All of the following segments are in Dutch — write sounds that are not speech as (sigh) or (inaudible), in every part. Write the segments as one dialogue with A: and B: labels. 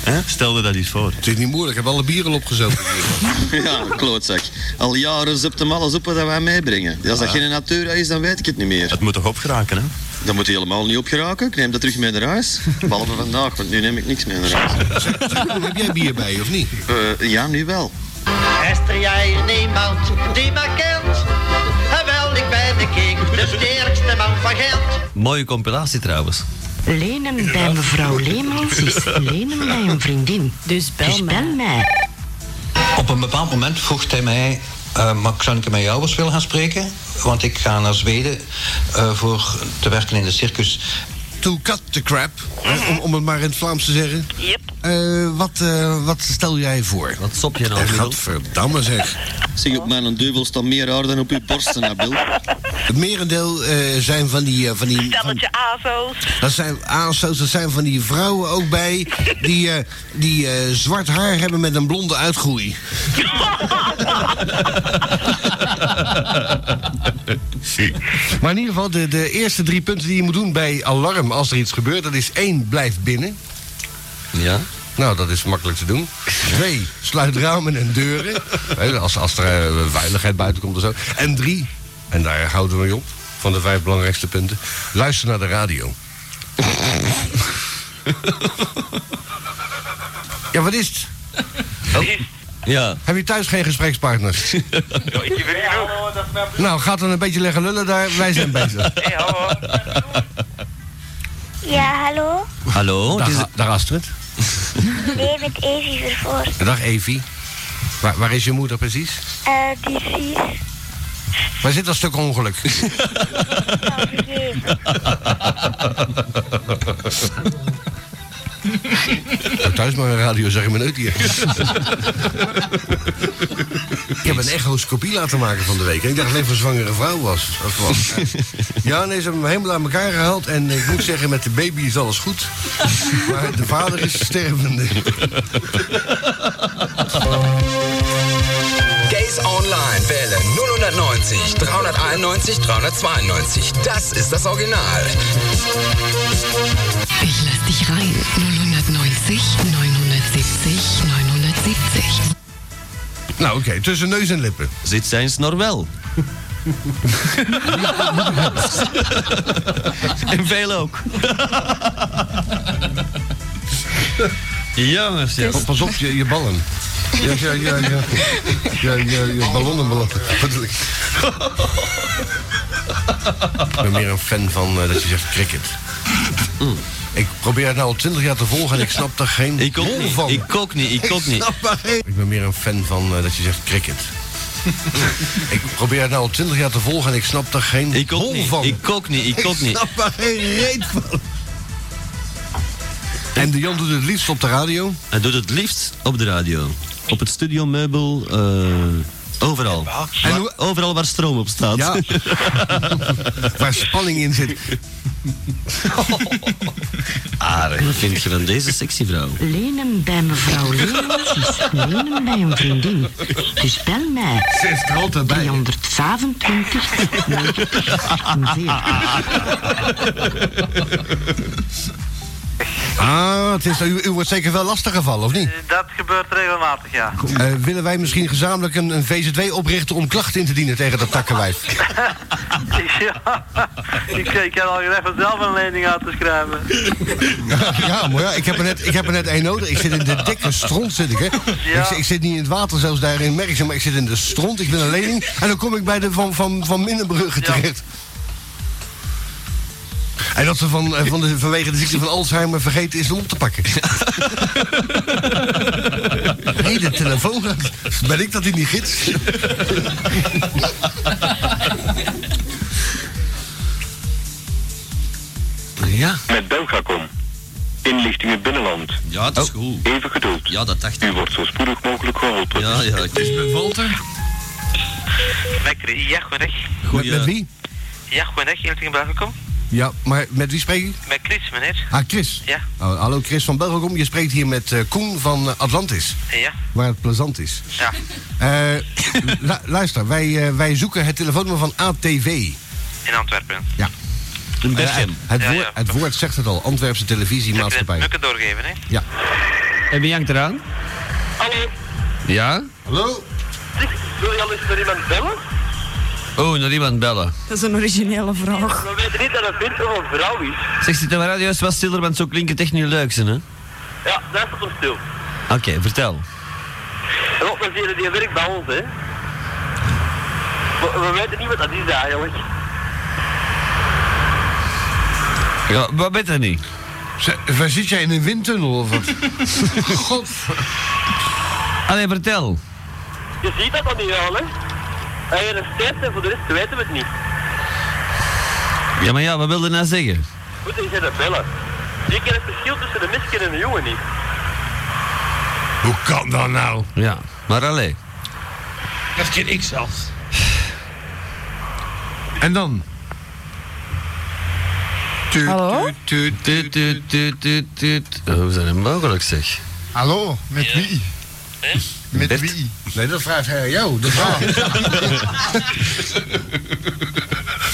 A: Hè? Stel je dat iets voor.
B: Het is niet moeilijk, ik heb alle bieren
C: (laughs)
B: opgezopen.
D: (laughs) Ja, klootzak. Al jaren zupt hem alles op wat wij meebrengen. Als dat geen natura is, dan weet ik het niet meer.
A: Het moet toch opgeraken, hè?
D: Dan moet hij helemaal niet opgeraken. Ik neem dat terug mee naar huis. Behalve vandaag, want nu neem ik niks mee naar huis.
B: heb jij bier bij, of niet?
D: Eh, ja, nu wel.
E: Luister jij niemand die me kent? En wel, ik ben de king, de sterkste man van Gent.
C: Mooie compilatie trouwens.
F: Lenen bij mevrouw Leemans is lenen bij een vriendin.
G: Dus bel
F: Dus
G: mij.
F: bel mij.
H: Op een bepaald moment vroeg hij mij... eh, maar zou ik met jou eens willen gaan spreken? Want ik ga naar Zweden eh, voor te werken in de circus.
B: To cut the crap, eh, om, om het maar in het Vlaams te zeggen.
E: Yep.
B: Eh, wat, eh, wat stel jij voor?
C: Wat sop je nou,
B: Eh,
C: Middel?
B: Gadverdamme zeg.
D: Zeg, op mijn duivel staat meer haar dan op uw borsten,
I: (laughs)
D: Nabil.
B: Het merendeel eh, zijn van die... eh, van die van,
E: Stelletje azo's.
B: dat zijn aanstoot, dat zijn van die vrouwen ook bij... die, eh, die eh, zwart haar hebben met een blonde uitgroei. (laughs) Maar in ieder geval, de, de eerste drie punten die je moet doen bij alarm als er iets gebeurt... dat is één, blijf binnen.
C: Ja?
B: Nou, dat is makkelijk te doen. Twee, sluit ramen en deuren. Hè, Als, als er eh, veiligheid buiten komt of zo. En drie, en daar houden we mee op, van de vijf belangrijkste punten. Luister naar de radio. ja, wat is het?
C: Ja.
B: Heb je thuis geen
C: (laughs)
B: gesprekspartners? nou, gaat dan een beetje leggen lullen daar. Wij zijn
C: (laughs)
B: bezig.
J: Ja, hallo.
C: Hallo? het
B: Dag,
C: is-
B: A- dag Astrid.
J: Nee, met Evie vervoer.
B: Dag Evie. Waar, waar is je moeder precies?
J: Eh, die is vies.
B: Waar zit dat stuk ongeluk?
C: (laughs)
J: Nou, vergeven.
B: Nou, thuis maar een radio, zeg je me nooit
C: (laughs)
B: hier. Ik heb een echoscopie laten maken van de week. En ik dacht alleen voor zwangere vrouw was. Of
C: (laughs)
B: was. Ja, nee, ze hebben me helemaal aan elkaar gehaald. En ik moet zeggen, met de baby is alles goed. Maar de vader is stervende.
K: Gays Online wähle 090 391 392. Das ist das Original.
G: Ich lass dich rein. 090 970 970.
B: Nou, oké, tussen neus en lippen.
C: Zit zijn snor wel? en veel ook. Jongens, ja.
B: Oh, pas op, je, je ballen. Ja, ja, ja, ja. Ja, ja, ja, ballonnen, ballonnen. Wat bedoel ik? Ik ben meer een fan van eh, dat je zegt cricket. Ik probeer het nou al twintig jaar te volgen en Mm. ik snap daar geen
C: Ik ook
B: hol
C: niet,
B: van.
C: ik ook niet, ik ook niet.
B: snap daar geen- Ik ben meer een fan van eh, dat je zegt cricket. (laughs) ik probeer het nou al twintig jaar te volgen en ik snap daar geen
C: Ik ook
B: hol
C: niet,
B: van.
C: ik ook niet, ik ook
B: Ik
C: niet.
B: snap daar geen reet van. En de Jan doet het liefst op de radio.
C: Hij doet het liefst op de radio. Op het studiomeubel, eh overal.
B: En
C: Waar-
B: hoe-
C: overal waar stroom op staat. (laughs)
B: Ja. (laughs) Waar spanning in zit.
C: Wat vind je van deze sexy vrouw?
F: Lenen bij mevrouw Leemans is lenen bij een vriendin. Dus bel mij.
B: Ze is er altijd
F: 325 90 48.
B: Ah, het is, u, u wordt zeker wel lastig gevallen, of niet?
E: Dat gebeurt regelmatig, ja.
B: Eh, willen wij misschien gezamenlijk een, een VZW oprichten om klachten in te dienen tegen dat takkenwijf?
E: (laughs) ja. Ik, ik heb al gerecht vanzelf een lening uit te schrijven.
B: (laughs) ja, maar ja, ik heb er net, ik heb er net één nodig. Ik zit in de dikke stront, zit ik, hè?
E: Ja.
B: Ik, zit- ik zit niet in het water, zelfs daarin merk je, maar ik zit in de stront. Ik ben een lening. En dan kom ik bij de Van, van, van Minderbrugge
E: Ja.
B: terecht. En dat ze van, eh, van de, vanwege de ziekte van Alzheimer vergeten is om op te pakken. (laughs) Nee, de telefoon gaat. Ben ik dat in die gids?
C: Ja.
I: Met Belgacom. Inlichtingen binnenland.
C: Ja, dat is goed.
I: Even geduld.
C: Ja, dat dacht
I: U
C: ik.
I: wordt zo spoedig mogelijk geholpen.
C: Ja, ja. ik-
H: Walter?
E: Lekker, ja, goedendag.
B: Met,
C: Goeie.
B: met wie?
E: Ja, goedendag, heel tegen welkom.
B: Ja, maar met wie spreek ik?
E: Met Chris, meneer.
B: Ah, Chris.
E: Ja.
B: Oh, hallo Chris van Belgacom. Je spreekt hier met eh, Koen van eh, Atlantis,
E: Ja,
B: waar het plezant is.
E: ja.
B: Eh, lu- luister, wij, eh, wij zoeken het telefoonnummer van ATV.
E: In Antwerpen.
C: Een
B: Eh,
C: Bechem.
B: het,
E: Ja,
B: woord,
E: ja.
B: het woord zegt het al, Antwerpse
E: Moet ik
B: televisiemaatschappij.
E: het doorgeven, hè?
B: Ja.
L: En wie hangt eraan?
K: Hallo,
L: Ja?
B: Hallo?
K: wil je al eens met iemand bellen?
L: Oh, nog iemand bellen.
F: Dat is een originele vraag.
K: We weten niet dat het vindt of een vrouw is.
C: Zeg, zit de radio eens wat stiller, want zo klinkt het echt niet leuk, hè? Oké,
K: Ja, dat is toch stil.
C: vertel.
K: En ook met die die werkt bij ons, hè. We, we weten niet wat dat is eigenlijk.
L: Ja, wat bent er niet?
B: Waar zit jij in een windtunnel of
E: (laughs)
B: wat? God.
L: Allee, vertel.
K: Je ziet dat dan niet al, hè. Hij heeft een sterft en voor de rest weten we het niet.
C: Ja, maar ja, wat wilde je nou zeggen?
K: Goed, die zijn dat bellen. Je kent het verschil tussen de misken en de jongen niet.
B: Hoe kan dat nou?
C: Ja, maar allee.
E: Dat ken ik zelf.
B: En dan?
C: Hallo? Tut, tut, tut, tut, tut, tut.
L: Oh,
C: Hoe is dat nou mogelijk, zeg?
M: Hallo, met wie? Met wie?
B: Nee, dat vraagt hij aan jou. Dat vraag (laughs)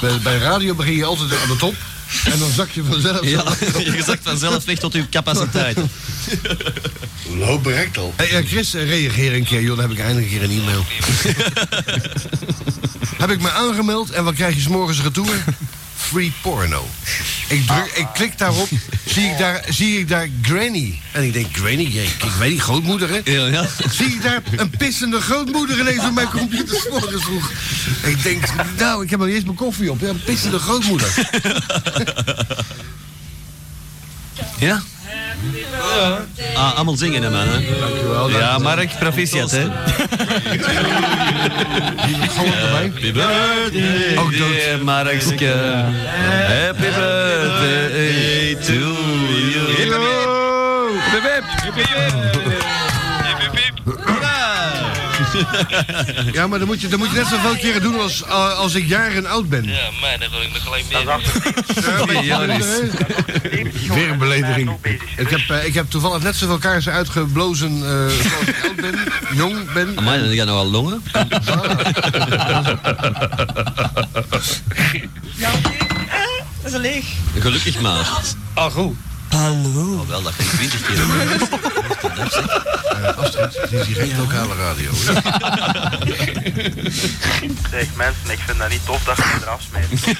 B: bij, bij radio begin je altijd aan de top. En dan zak je vanzelf.
C: Ja, (laughs) je zakt vanzelf weg tot uw capaciteit.
B: Loop direct al. Hey, eh, Chris, eh, reageer een keer, joh. Dan heb ik eindelijk een keer een e-mail. heb ik me aangemeld en wat krijg je 's morgens retour? Free porno. Ik, druk, ik klik daarop, zie ik daar, zie ik daar Granny. En ik denk, Granny, ja, ik, ik weet niet, grootmoeder, hè? Zie ik daar een pissende grootmoeder ineens op mijn computer 's morgens vroeg. Ik denk, nou, ik heb nog niet eens mijn koffie op. Ja, een pissende grootmoeder.
C: Ja? Ah, allemaal zingen, hè, man. Hè? Ja, Mark, proficiat, hè? Happy birthday, oh, dear Markske. Happy birthday to you.
L: Wip, wip.
B: Ja, maar dan moet je, dan moet je net zoveel keren doen als, eh, als ik jaren oud ben.
E: Ja, mij, dan wil ik nog gelijk meer.
B: Weer een belediging. Ik heb, eh, ik heb toevallig net zoveel kaarsen uitgeblozen eh, als ik oud ben, (laughs) jong ben.
C: Amai, dan gaan nou al longen.
F: Dat is leeg.
C: Gelukkig maar.
E: Ah, goed.
C: Hallo. Oh, wel, dat ging 20 keer.
B: Het is hier geen lokale radio.
K: Zeg mensen, ik vind dat niet tof dat je me eraf smijt.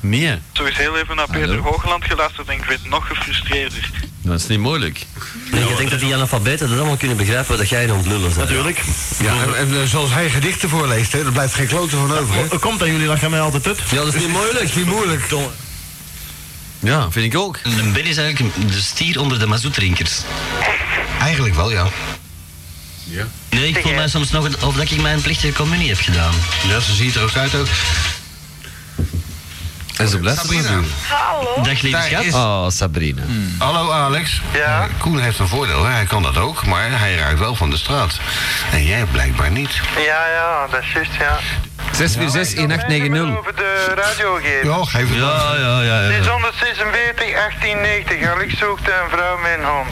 C: Meer?
K: (laughs) Zo is heel even naar Peter Hoogland geluisterd en ik vind het nog gefrustreerder.
C: Dat is niet moeilijk. ik denk dat die analfabeten dat allemaal kunnen begrijpen wat jij aan het lullen bent. Natuurlijk.
B: Ja, en, en, eh, zoals hij gedichten voorleest, hè, er blijft geen klote van over. Hè?
E: Komt aan jullie, dan gaan mij altijd het.
C: Ja, dat is niet moeilijk.
B: Niet moeilijk.
C: Ja, vind ik ook. Een ben is eigenlijk de stier onder de mazoetrinkers.
B: Eigenlijk wel, ja.
C: Ja. Nee, ik voel mij soms nog een- of dat ik mijn plichtige communie heb gedaan.
B: Ja, ze ziet er ook uit ook.
C: En ze blijft
B: Sabrina.
C: doen.
J: Hallo.
C: Dag lieve
B: Daar
C: schat.
B: is-
C: Oh, Sabrina.
B: Hallo Alex. Ja? Koen heeft een voordeel, hè? hij kan dat ook, maar hij raakt wel van de straat. En jij blijkbaar niet.
K: Ja, ja, dat is juist, ja.
L: 646 1890.
K: Over de radio geven.
B: Ja, geef het
C: Ja, ja, ja. ja.
K: 646, 1890. Alex zoekt een vrouw met een hond.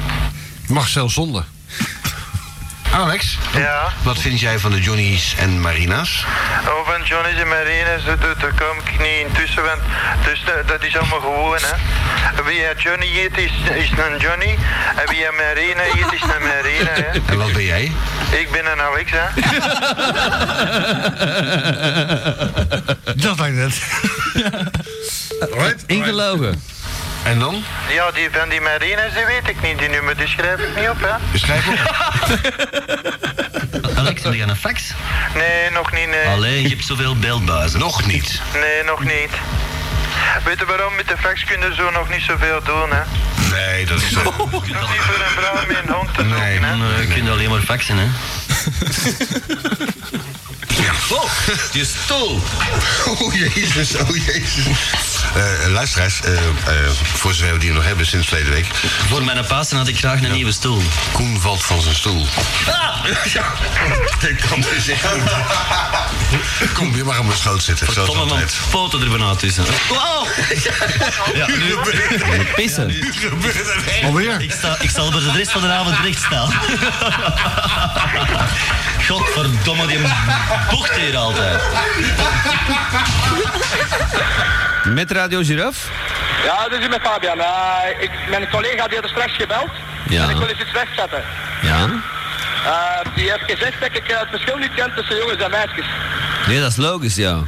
B: Mag zelfs zonder. Alex?
K: Ja?
B: Wat vind jij van de Johnny's en Marina's?
K: Oh, van Johnny's en Marines, dat doet- daar kom ik niet intussen, want dus, dat, dat is allemaal gewoon, hè. Wie een Johnny eet, is, is een Johnny. En wie een Marina eet, is een Marina, hè.
B: En wat ben jij?
K: Ik ben een Alex, hè.
B: Dat lijkt net. Right?
L: Ingelogen.
B: En dan?
K: Ja, die van die Marines, die weet ik niet, die nummer, die schrijf ik niet op, hè.
B: Schrijf op.
C: Alex, heb je een fax?
K: Nee, nog niet, nee.
C: Alleen, je hebt zoveel beeldbuizen.
B: Nog niet.
K: Nee, nog niet. Weet je waarom? Met de fax kunnen we zo nog niet zoveel doen, hè.
B: Nee, dat is...
K: Nog niet voor een vrouw met een hond te doen,
C: Nee,
K: hè.
C: dan eh, kun je alleen maar faxen, hè.
B: Oh, je stoel. (laughs) Oh jezus, oh jezus. Eh, luisteraars, eh, eh, voor zover we die nog hebben sinds verleden week.
C: Voor mijn Pasen had ik graag een nieuwe stoel.
B: Koen valt van zijn stoel. Ah! (laughs) Ja, dat kan dus echt niet. Kom, je mag op mijn schoot zitten. Zoals
C: Verdomme, mijn
B: altijd.
C: poten er bijna tussen.
E: Wow!
C: (laughs) Ja, nu pissen.
B: Alweer?
C: Ik sta, ik zal voor de rest van de avond rechtstaan. (laughs) Godverdomme, die bocht hier altijd.
L: Met Radio Giraffe?
N: Ja, dit is met Fabian. Eh, ik, mijn collega die had er straks gebeld.
C: Ja.
N: En ik wil eens iets rechtzetten.
C: Ja?
N: Eh, die heeft gezegd dat ik eh, het verschil niet ken tussen jongens en meisjes.
C: Nee, dat is logisch, ja.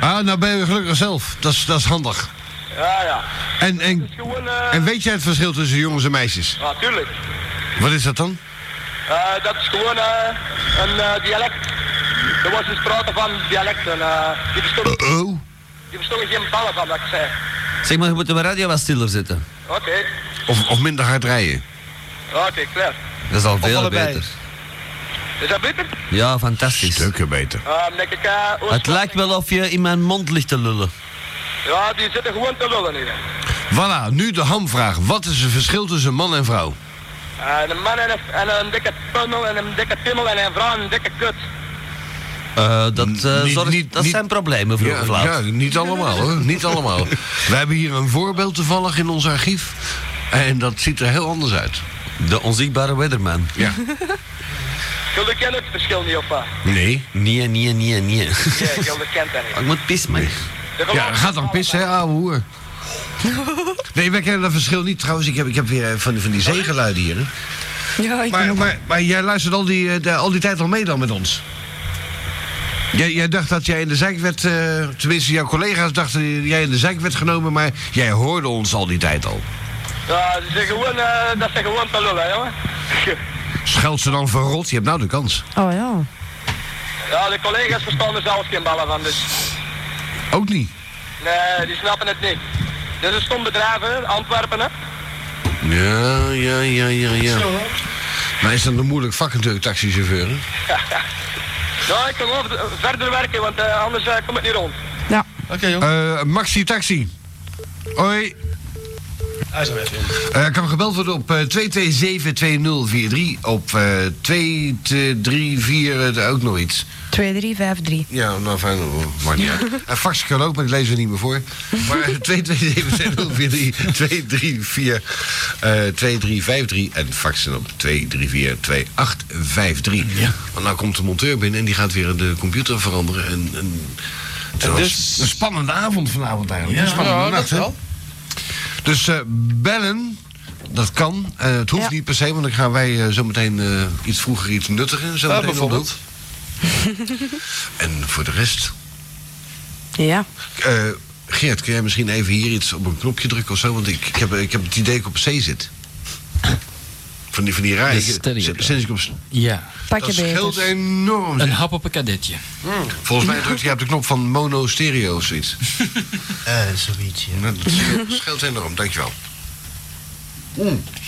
B: Ah, nou ben je gelukkig zelf. Dat is, dat is handig.
N: Ja, ja.
B: En, en, en weet jij het verschil tussen jongens en meisjes?
N: eh, Natuurlijk.
B: Wat is dat dan?
N: dat is gewoon eh, een eh, dialect. Er was dus praten van dialecten. eh, die bestonden die bestonden geen ballen van wat ik zei.
C: Zeg maar, je moet de radio wat stiller zetten.
N: Oké,
B: Of, of minder hard rijden.
N: oké, klaar.
C: Dat is al
N: Of
C: veel
N: allebei.
C: beter.
N: Is dat beter?
C: Ja, fantastisch.
B: Stukken beter.
N: Eh, omdat ik, eh,
C: Het
N: oorspronkelijk-
C: lijkt wel of je in mijn mond ligt te lullen.
N: Ja, die zitten gewoon te lullen hier.
B: Voilà, nu de hamvraag. Wat is het verschil tussen man en vrouw?
N: En Eh, een man en een, en een dikke tunnel en een dikke timmel en een vrouw en een dikke kut.
C: Eh, dat eh,
B: Niet-
C: zorgt,
B: niet-
C: dat
B: niet-
C: zijn problemen vroeg
B: Ja,
C: of laat.
B: ja, niet allemaal hoor. Niet allemaal. We hebben hier een voorbeeld toevallig in ons archief. En dat ziet er heel anders uit.
C: De onzichtbare weatherman.
B: Ja.
N: Jullie kennen het verschil niet, of wat?
B: Nee.
C: Nee, nee, nee, nee.
N: Ja, jullie
C: (laughs)
N: kennen dat niet.
C: Ik moet pissen, man.
B: Ja, ga dan pissen, hè, ouwe hoer. Nee, wij kennen dat verschil niet. Trouwens, ik heb, ik heb weer eh, van, die- van die zeegeluiden hier. Hè.
F: Ja, ik
B: Maar, maar, maar jij luistert al die, eh, de- al die tijd al mee dan met ons? Jij, jij dacht dat jij in de zijk werd... eh, tenminste, jouw collega's dachten dat jij in de zijk werd genomen... maar jij hoorde ons al die tijd al.
N: Ja, ze zijn gewoon, eh, dat zijn gewoon te lullen, jongen.
B: Scheld ze dan verrot, je hebt nou de kans.
F: Oh ja.
N: Ja, de collega's verstaan er zelfs geen ballen van, dus
B: Ook niet.
N: nee, die snappen het niet. Dit is een stom bedrijf, hè, Antwerpen, hè.
B: Ja, ja, ja, ja, ja. Maar is dat een moeilijk vak natuurlijk, taxichauffeur? hè?
N: Ja, ik kan gewoon eh, verder werken, want eh, anders eh, komt het niet rond.
F: Ja.
B: Oké,
O: Eh,
B: joh. Maxi Taxi. Hoi.
O: Hij is er weg, jongen.
B: Eh, kan gebeld worden op eh, 227-2043. Op eh 234, eh, ook nog iets.
F: 2, 3, 5, 3.
B: Ja, nou fijn, hoor. maakt niet uit. En fax kan ook, maar die lezen we niet meer voor. Maar eh, 227 234 eh 2353 en faxen op 234 2853. Want nou komt de monteur binnen en die gaat weer de computer veranderen. En, en, het was een spannende avond vanavond eigenlijk.
H: Dus- Ja,
B: een spannende
H: ja, dat
B: nacht, hè?
H: wel.
B: Dus eh, bellen, dat kan. Eh, het hoeft niet per se, want dan gaan wij eh, zometeen eh, iets vroeger iets nuttiger. Zo
H: Ja,
B: meteen
H: bijvoorbeeld.
B: ontdoen. (laughs) En voor de rest...
F: Ja.
B: eh, Geert, kun jij misschien even hier iets op een knopje drukken of zo? Want ik, ik, heb, ik heb het idee dat ik op zee zit. Van die, van die rij.
P: De
B: Ik-
P: stereo.
B: sinds- Sinds ik op... s-
P: (laughs) Ja.
F: Pak je
B: dat scheelt
F: beter.
B: enorm.
P: Een
B: zeg.
P: hap op een kadetje.
B: Volgens mij drukt hij op de knop van mono stereo of
P: (laughs)
B: zoiets. Eh, zoiets, ja. Dat scheelt, scheelt enorm, dankjewel.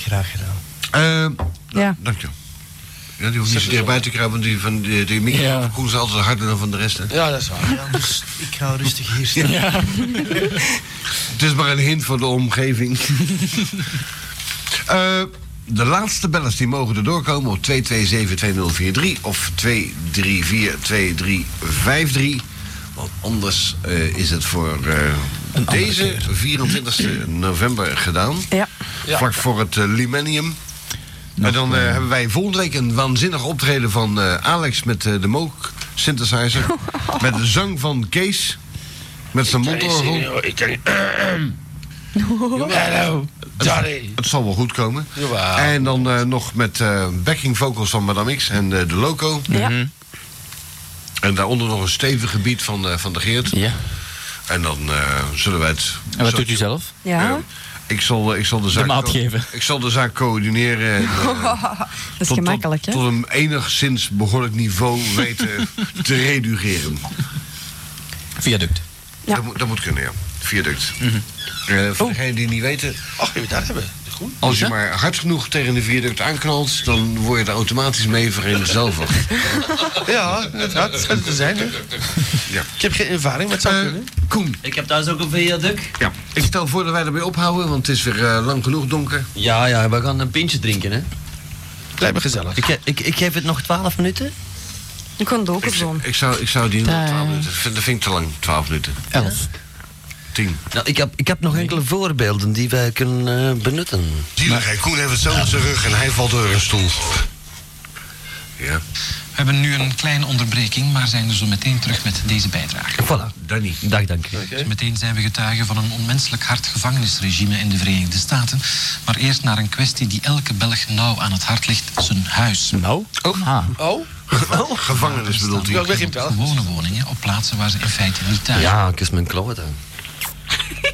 H: Graag gedaan.
B: Eh
F: Ja.
B: Dankjewel. Ja, die hoeft niet zo dichtbij te kruipen, want die, van die, die microfoon koelt ze altijd harder dan van de rest. Hè?
H: Ja, dat is waar. Ja, dus ik ga rustig hier staan.
B: Ja. Het is maar een hint voor de (laughs) omgeving. Eh, de laatste bellers die mogen er doorkomen op 227-2043 of 234-2353. Want anders eh, is het voor eh, deze 24 november gedaan.
F: Ja.
B: Vlak voor het eh, Limenium. en dan eh, hebben wij volgende week een waanzinnig optreden van eh, Alex met eh, de Moog
P: (laughs)
B: synthesizer. met de zang van Kees. Met zijn mondorgel.
H: (laughs) Ik kan Hallo, Johnny.
B: Het zal wel goed komen.
H: Jawel.
B: En dan eh, nog met eh, backing vocals van Madame X en eh, de Loco.
F: Ja.
B: En daaronder nog een stevig gebied van, eh, van de Geert.
P: Ja.
B: En dan eh, zullen wij het...
P: En wat
B: zo-
P: doet u zelf?
F: Ja.
B: Ik zal, eh, ik zal de zaak...
P: maat
B: co-
P: geven.
B: Ik zal de zaak coördineren. En,
P: (laughs)
B: eh,
F: dat is gemakkelijk, hè?
B: tot een enigszins behoorlijk niveau
F: (laughs)
B: weten te reduceren.
P: Viaduct.
F: Ja.
B: Dat, moet, dat moet kunnen, ja. Viaduct. Eh, voor degenen die niet weten,
O: Ach, je moet daar hebben. Groen.
B: als je maar hard genoeg tegen de viaduct aanknalt, dan word je er automatisch mee (laughs) vereenzelvigd.
O: Ja, inderdaad. Dat zou het zijn, hè.
B: Ja.
O: Ik heb geen ervaring, maar het zou
B: Eh,
O: kunnen.
B: Koen,
C: Ik heb thuis ook een viaduct.
B: ja. ik stel voor dat wij ermee ophouden, want het is weer eh, lang genoeg donker.
C: Ja, ja, we gaan een pintje drinken, hè.
O: Lijkt me gezellig.
C: Ik, ge- ik, ik geef het nog 12 minuten.
F: Ik kan het ook
B: Ik,
F: op
B: zou-
F: doen.
B: ik, zou, ik zou die nog
P: Eh.
B: 12 minuten. vind- Dat vind ik te lang, 12 minuten.
P: Elf.
B: 10.
C: Nou, ik, heb, ik heb nog enkele voorbeelden die wij kunnen eh, benutten.
B: Zie je, Koen heeft het zo op zijn rug en hij valt door een stoel. Ja.
H: hebben nu een kleine onderbreking, maar zijn er zo meteen terug met deze bijdrage.
C: Voilà. Danny. Dag, dank u.
H: Dus meteen zijn we getuigen van een onmenselijk hard gevangenisregime in de Verenigde Staten. Maar eerst naar een kwestie die elke Belg nauw aan het hart ligt: zijn huis.
C: Nou?
H: Oh.
Q: Oh?
B: Gevangenis bedoelt u?
H: begint wel. Gewone woningen op plaatsen waar ze in feite niet thuis
C: Ja, kus mijn klauwen dan.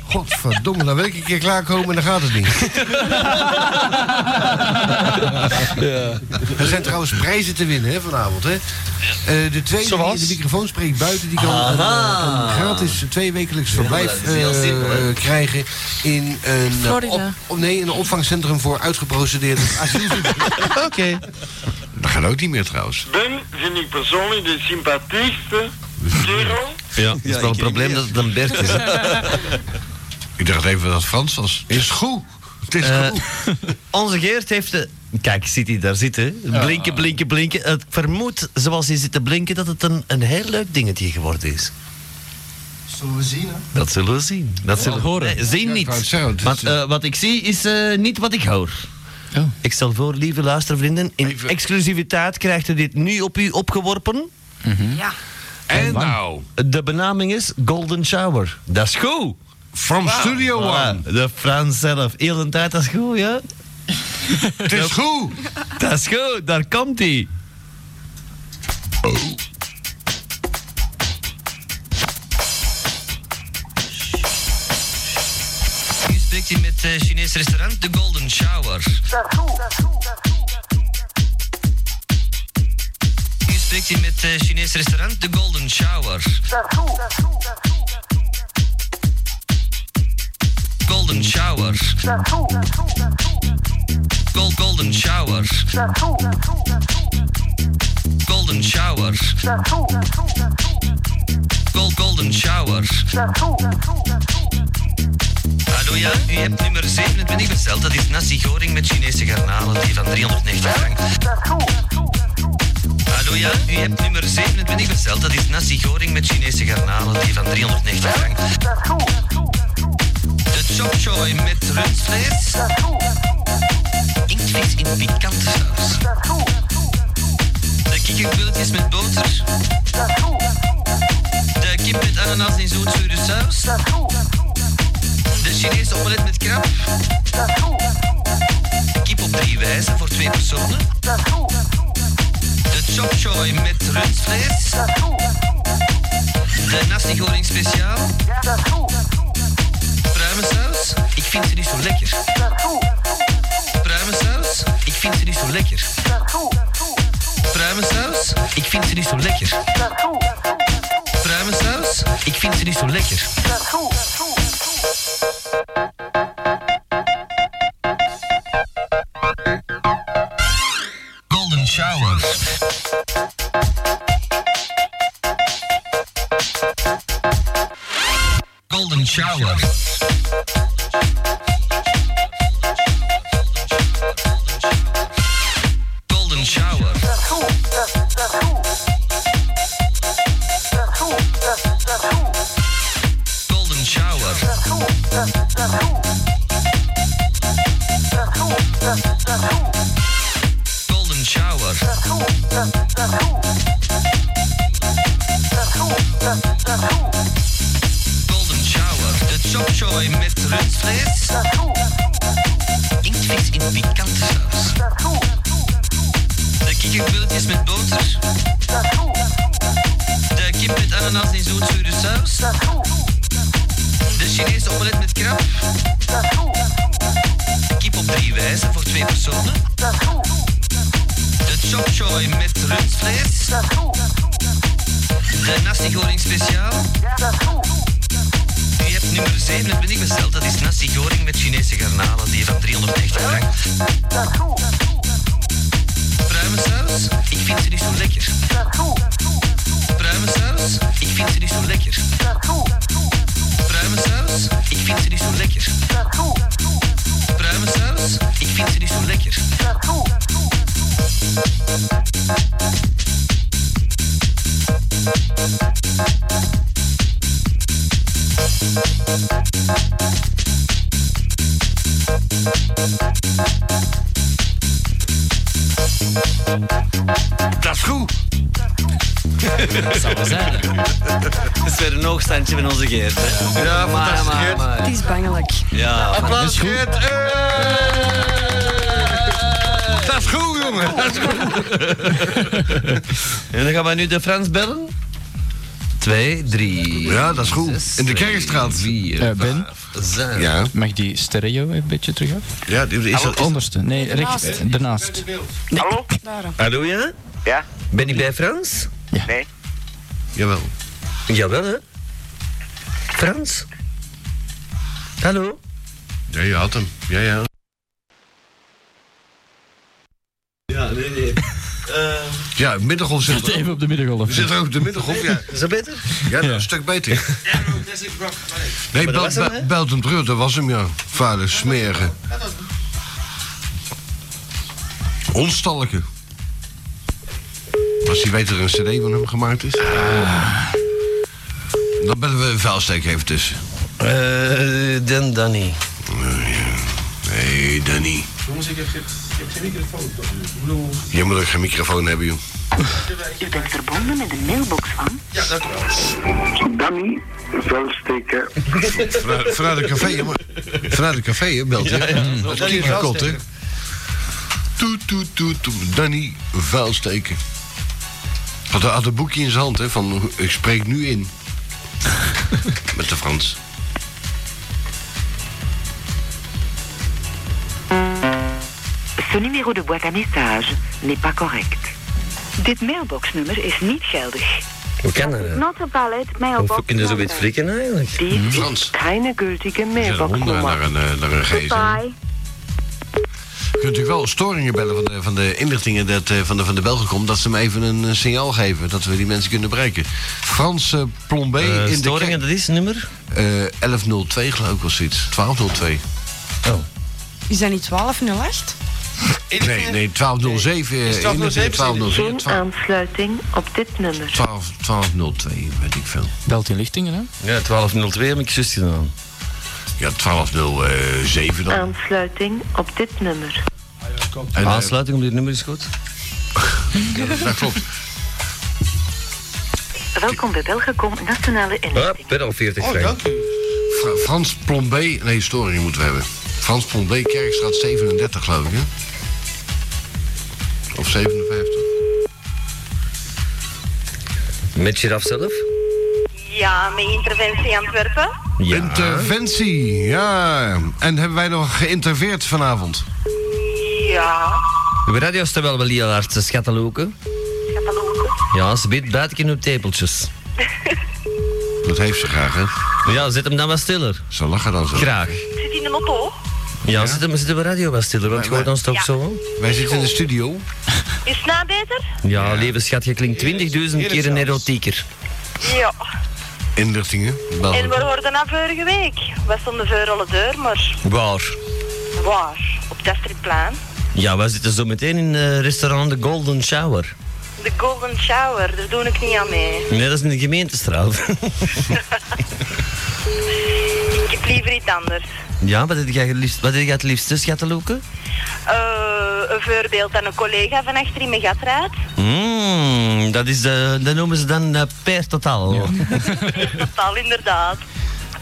B: Godverdomme, dan wil ik een keer klaarkomen en dan gaat het niet. Er zijn trouwens prijzen te winnen hè, vanavond. Hè? Eh, de tweede die in de microfoon spreekt buiten, die kan een, eh, een gratis tweewekelijks verblijf
R: dat is heel
B: eh,
R: simpel, hè.
B: eh, krijgen in een, eh,
F: Florida.
B: op- oh, nee, een opvangcentrum voor uitgeprocedeerde asielzoekers. Oké. Dat gaat ook niet meer trouwens.
K: Ben vind ik persoonlijk de sympathiekste kerel.
B: Ja, het is wel een probleem dat het een Bert is. ik dacht even dat het Frans was. Is goed. Het is
C: Eh,
B: goed.
C: onze Geert heeft de... Kijk, zit hij daar zitten. Blinken, blinken, blinken. Ik vermoed, zoals hij zit te blinken, dat het een, een heel leuk dingetje geworden is.
S: Zullen we zien, hè?
C: Dat zullen we zien. Dat zullen we horen. zien
S: Ja, ik wou
C: niet.
S: het zeggen, het is,
C: Want eh, wat ik zie is eh, niet wat ik hoor. Ik stel voor, lieve luistervrienden, in exclusiviteit krijgt u dit nu op u opgeworpen.
F: Ja.
C: En nou? De benaming is Golden Shower. Dat is goed.
B: From Studio One.
C: De Frans zelf. Heel de tijd, dat is goed, ja?
B: Het is goed.
C: Dat is goed, daar komt hij.
E: U spreekt hier met eh Chinees restaurant The Golden Shower. U spreekt hier met eh Chinees restaurant The Golden Shower. Golden Shower. Gol golden Shower. Golden Shower. Gol golden Shower. Hallo ja, u hebt nummer 27 besteld. Dat is nasi goring met Chinese garnalen, die van 390 frank. Hallo ja, u hebt nummer 27 besteld. Dat is nasi goring met Chinese garnalen, die van 390 frank. De chop choy met rundvlees. Inktvis in pikante saus. De kikkerbilletjes met boter. De kip met ananas in zoetzure saus. De Chinese omelet met krab. Kip op drie wijzen voor twee personen. De chop choy met rundvlees. De nasi goreng speciaal. Pruimensaus. Ik vind ze niet zo lekker. Pruimensaus. Ik vind ze niet zo lekker. Pruimensaus. Ik vind ze niet zo lekker. Pruimensaus. Ik vind ze niet zo lekker. Golden Shower. Golden Shower. Golden Shower. Golden Shower. Golden Shower. Golden Shower. De chop choy met rundvlees. Inktvis in pikante saus. De kikkerbilletjes met boter. De kip met ananas in zoetzure saus. De Chinese omelet met krab. Kip op drie wijzen voor twee personen. De chop choy met rundvlees. De nasi goreng speciaal. U hebt nummer 27 besteld. Dat is nasi goreng met Chinese garnalen. Die van 390 frank. Pruimensaus. Ik vind ze niet zo lekker. Pruimensaus. Ik vind ze niet zo lekker. Pruimensaus. Ik vind ze niet zo lekker. Pruimensaus. Ik vind ze niet zo lekker.
B: Dat is goed.
C: Dat zou wel zijn. hè. Dat is weer een hoogstandje van onze Geert. hè.
E: Ja,
C: Maar,
E: fantastisch,
C: maar,
E: Geert.
C: maar.
E: Het is bangelijk.
C: Ja, maar dat is
B: Applaus,
C: goed.
B: Geert. Eh, Dat is goed, jongen. Dat is
C: (laughs)
B: goed.
C: En dan gaan we nu de Frans bellen. Twee, drie.
B: Ja, dat is goed. In de Kerkstraat.
C: Vier,
T: Eh, Ben?
C: vijf, zes.
B: Ja.
T: Mag die stereo een beetje terug Ah, af?
B: Ja, die is
T: het onderste. Nee,
C: Daarnaast.
T: recht, daarnaast.
C: Hallo?
B: Ah,
C: Hallo, ja?
U: Ja?
C: Ben ik bij Frans?
U: Nee.
B: Jawel.
C: Jawel, hè? Frans? Hallo?
B: Ja, je had hem. Ja, ja.
C: Ja, nee, nee.
B: (laughs) Ja, middengolf zit er.
T: Even op de middengolf.
B: Zit er ook de middengolf, ja.
C: Is dat beter?
B: Ja, dat is een stuk beter. Nee,
C: Maar
B: bel,
C: dat was hem,
B: Bel-
C: hè?
B: Belton Breur, dat was hem, ja. Vader, smeren. Onstalke. Als hij weet dat er een cd van hem gemaakt is.
C: Ah.
B: Dan bellen we een vuilsteek even tussen.
C: Eh, dan Danny.
B: Nee, Danny.
V: Jongens, ik heb, geen- ik heb geen microfoon. toch? Ik bedoel...
B: Je moet ook geen microfoon hebben, joh.
F: U bent verbonden met de mailbox van...
V: Ja, dat wel.
F: Danny.
B: Vuilsteken. Vanuit het café, hè, maar. Vanuit het café, hè, belt hij.
V: Ja, ja.
B: Dat is
V: Danny
B: kiekerkot, hè.
V: Vuilsteken.
B: Toet, toet, toet, toet. Danny Vuilsteken. Had, had een boekje in zijn hand, hè, van ik spreek nu in. (laughs) Met de Frans.
F: Ce numéro de boîte à message n'est pas correct. Dit mailboxnummer is niet geldig.
C: Hoe kan dat? nou?
F: Not valid
C: Hoe kun je zo wit flikken eigenlijk?
B: Mhm. Frans.
F: Keine gültige
B: Er zijn honden naar een, eh, naar een geest. Je kunt natuurlijk wel storingen bellen van de, van de inlichtingen dat, eh, van de, van de Belgicom... dat ze hem even een eh, signaal geven dat we die mensen kunnen bereiken. Frans eh, Plombé
C: Eh,
B: in de
C: storingen, dat is een nummer?
B: Eh, 1102 geloof ik was zoiets. 1202.
E: Is dat niet 1208?
B: Nee, nee, 1207. eh,
E: Is 1207
B: inlichtingen, 1207.
F: aansluiting op dit nummer.
B: 12 1202, weet ik veel.
T: Belt in lichtingen, hè?
C: Ja, 1202 heb ik zus gedaan.
B: Ja, 1207 dan.
F: Aansluiting op dit nummer.
B: En, eh,
C: Aansluiting op dit nummer is goed.
B: dat eh, klopt.
F: Welkom bij Belgacom Nationale in.
C: Ah, per 40
V: Oh, dank u.
B: Fra- Frans Plombé, nee, storing moeten we hebben. Frans Plombé, Kerkstraat 37 geloof ik, hè? Of 57.
C: Met je zelf?
K: Ja, mijn interventie Antwerpen.
B: Interventie, Eh, ja. En hebben wij nog geïnterveerd vanavond?
K: Ja.
C: De radio is wel wel heel hard, ze schatten loken. Ja, ze biedt buiten op tepeltjes.
B: Dat heeft ze graag, hè?
C: Ja, zet hem dan wat stiller.
B: Ze lachen dan zo.
C: Graag.
K: Ik zit in de auto.
C: Ja, Zet, hem, zet de radio wat stiller, want je hoort ons toch zo?
B: Wij zitten in de studio.
K: Is het na beter?
C: Ja, lieve schat, je klinkt 20.000 keer een erotieker.
K: Ja.
B: Inlichtingen.
K: En we hoorden na vorige week. We stonden voor alle deur, maar
C: Waar?
K: waar? Op Dastridplein.
C: Ja, wij zitten zo meteen in eh, restaurant The Golden Shower.
K: De Golden Shower, daar doe ik niet aan mee.
C: Nee, dat is in de gemeentestraat.
K: (laughs) Ik heb liever iets anders.
C: ja, wat heb jij het liefst, wat heb jij het liefste, schattenloeken?
K: Eh, een voorbeeld aan een collega van achter in mijn gat rijdt.
C: Mmm, dat is de, dat noemen ze dan eh per totaal.
K: Totaal inderdaad.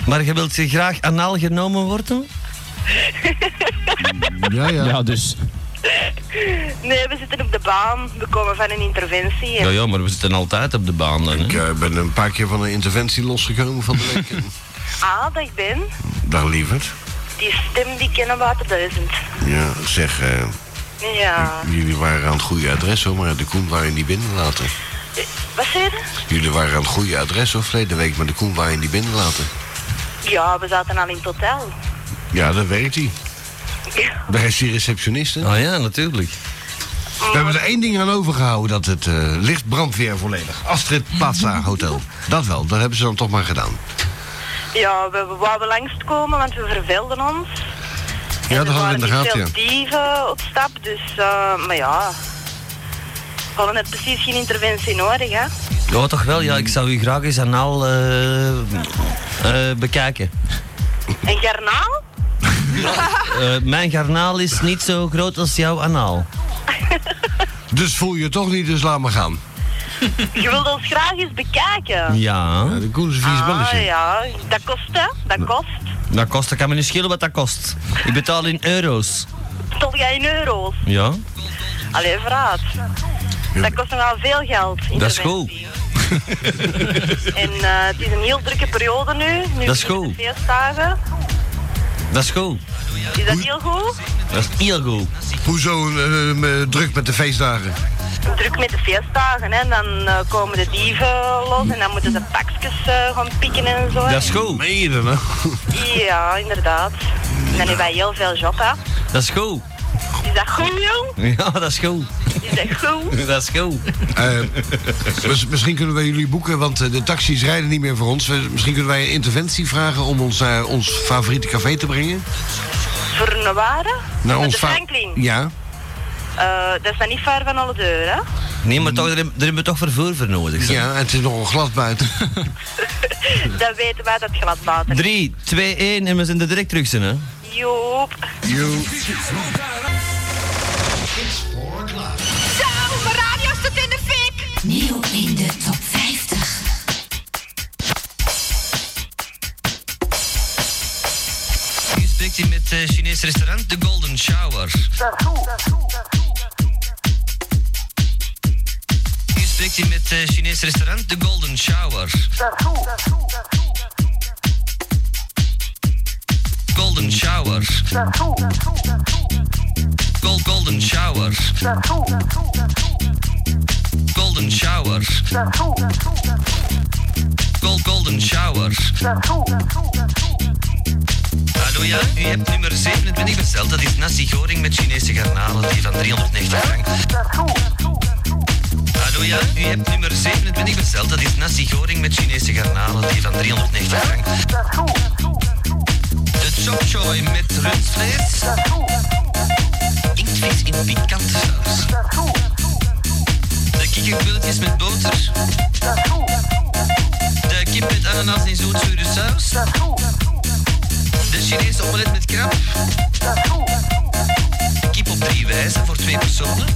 C: Maar je wilt je graag anaal genomen worden?
B: Ja, ja.
T: Ja, dus.
K: Nee, we zitten op de baan. We komen van een interventie.
C: Ja, ja, maar we zitten altijd op de baan dan.
B: Ik eh, ben een paar keer van een interventie losgekomen van de (laughs) week.
K: Ah, dat ik ben.
B: Dag lieverd.
K: Die stem die kennen we uit de duizend.
B: Ja, zeg, eh,
K: Ja.
B: jullie waren aan het goede adres hoor, maar de Koen waren je niet binnen laten.
K: Wat zei je?
B: Jullie waren aan het goede adres hoor, verleden week, maar de Koen waren je niet binnen laten.
K: Ja, we zaten al in het hotel.
B: Ja, dat werkt hij.
K: Ja.
B: Daar is die receptionist hè.
C: Ah ja, natuurlijk.
B: We hebben er één ding aan overgehouden, dat het eh licht brandweer volledig. Astrid Plaza (laughs) Hotel. Dat wel, dat hebben ze dan toch maar gedaan.
K: Ja, we, we wouden langskomen, want we verveelden ons.
B: Ja, dat hadden we in de
K: Er
B: gaten,
K: waren
B: ja.
K: niet veel dieven op stap, dus... eh, maar ja... We hadden net precies geen interventie nodig, hè.
C: Ja, toch wel. Ja, ik zou u graag eens anaal eh, eh, bekijken.
K: Een garnaal?
C: Eh, mijn garnaal is niet zo groot als jouw anaal.
B: Dus voel je het toch niet, dus laat maar gaan.
K: Je wilt ons graag eens bekijken.
W: Ja.
B: de koers is vier
K: Ah,
W: belletje.
K: ja. Dat kost, hè? Dat kost.
W: Dat kost, dat kan me niet schelen wat dat kost. Ik betaal in euro's.
K: Tot jij in euro's.
W: Ja,
K: Allee, vooruit. Dat kost nogal veel geld.
W: dat is
K: interventie.
W: goed.
K: (laughs) En eh, het is een heel drukke periode nu. nu
W: Dat is
K: voor de
W: goed.
K: Feestdagen.
W: Dat is goed.
K: Is dat heel goed?
W: Dat is heel goed.
B: Hoezo eh, eh, druk met de feestdagen?
K: Druk met de feestdagen, hè. Dan eh, komen de dieven los en dan moeten ze pakjes eh, gaan pikken en zo.
W: Dat is goed. Meden, hè?
K: Ja, inderdaad. En dan hebben wij heel veel job, hè.
W: Dat is goed. (laughs)
K: Is dat goed, jong?
W: Ja, dat is goed.
K: Is dat goed?
W: Dat is goed.
B: Eh, mis- dus misschien kunnen wij jullie boeken, want eh, de taxis rijden niet meer voor ons. We- misschien kunnen wij een interventie vragen om ons naar ons favoriete café te brengen.
K: Voor een waarde?
B: Naar
K: Met
B: ons
K: de
B: fa-
K: Franklin.
B: Nou, Ja.
K: Eh, dat is dan niet ver van alle deuren, hè.
W: Nee, maar toch, daar, heb- daar hebben we toch vervoer voor nodig.
B: Ja, het is nogal glad buiten.
K: Dat weten wij, dat glad water.
W: 3, 2, 1 en we zijn er direct terug, zijn, hè?
K: Joep.
W: Joep.
X: Zo, mijn radio staat in de fik. Nieuw in de top 50.
C: Je spreekt hier met eh Chinees restaurant The Golden Shower. Je spreekt hier met eh Chinees restaurant The Golden Shower. Golden Shower. Gold Golden Shower. Golden Shower. Gold Golden Shower. Hallo ja, u hebt nummer 27 besteld. Dat is nasi goring met Chinese garnalen die van 390 frank. Hallo ja, u hebt nummer 27 besteld. Dat is nasi goring met Chinese garnalen die van 390 frank. De chop choy met rundvlees. Inktvis in pikante saus. De kikkerbilletjes met boter. De kip met ananas in zootzure saus. De Chinese omelet met krab. Kip op drie wijzen voor twee personen.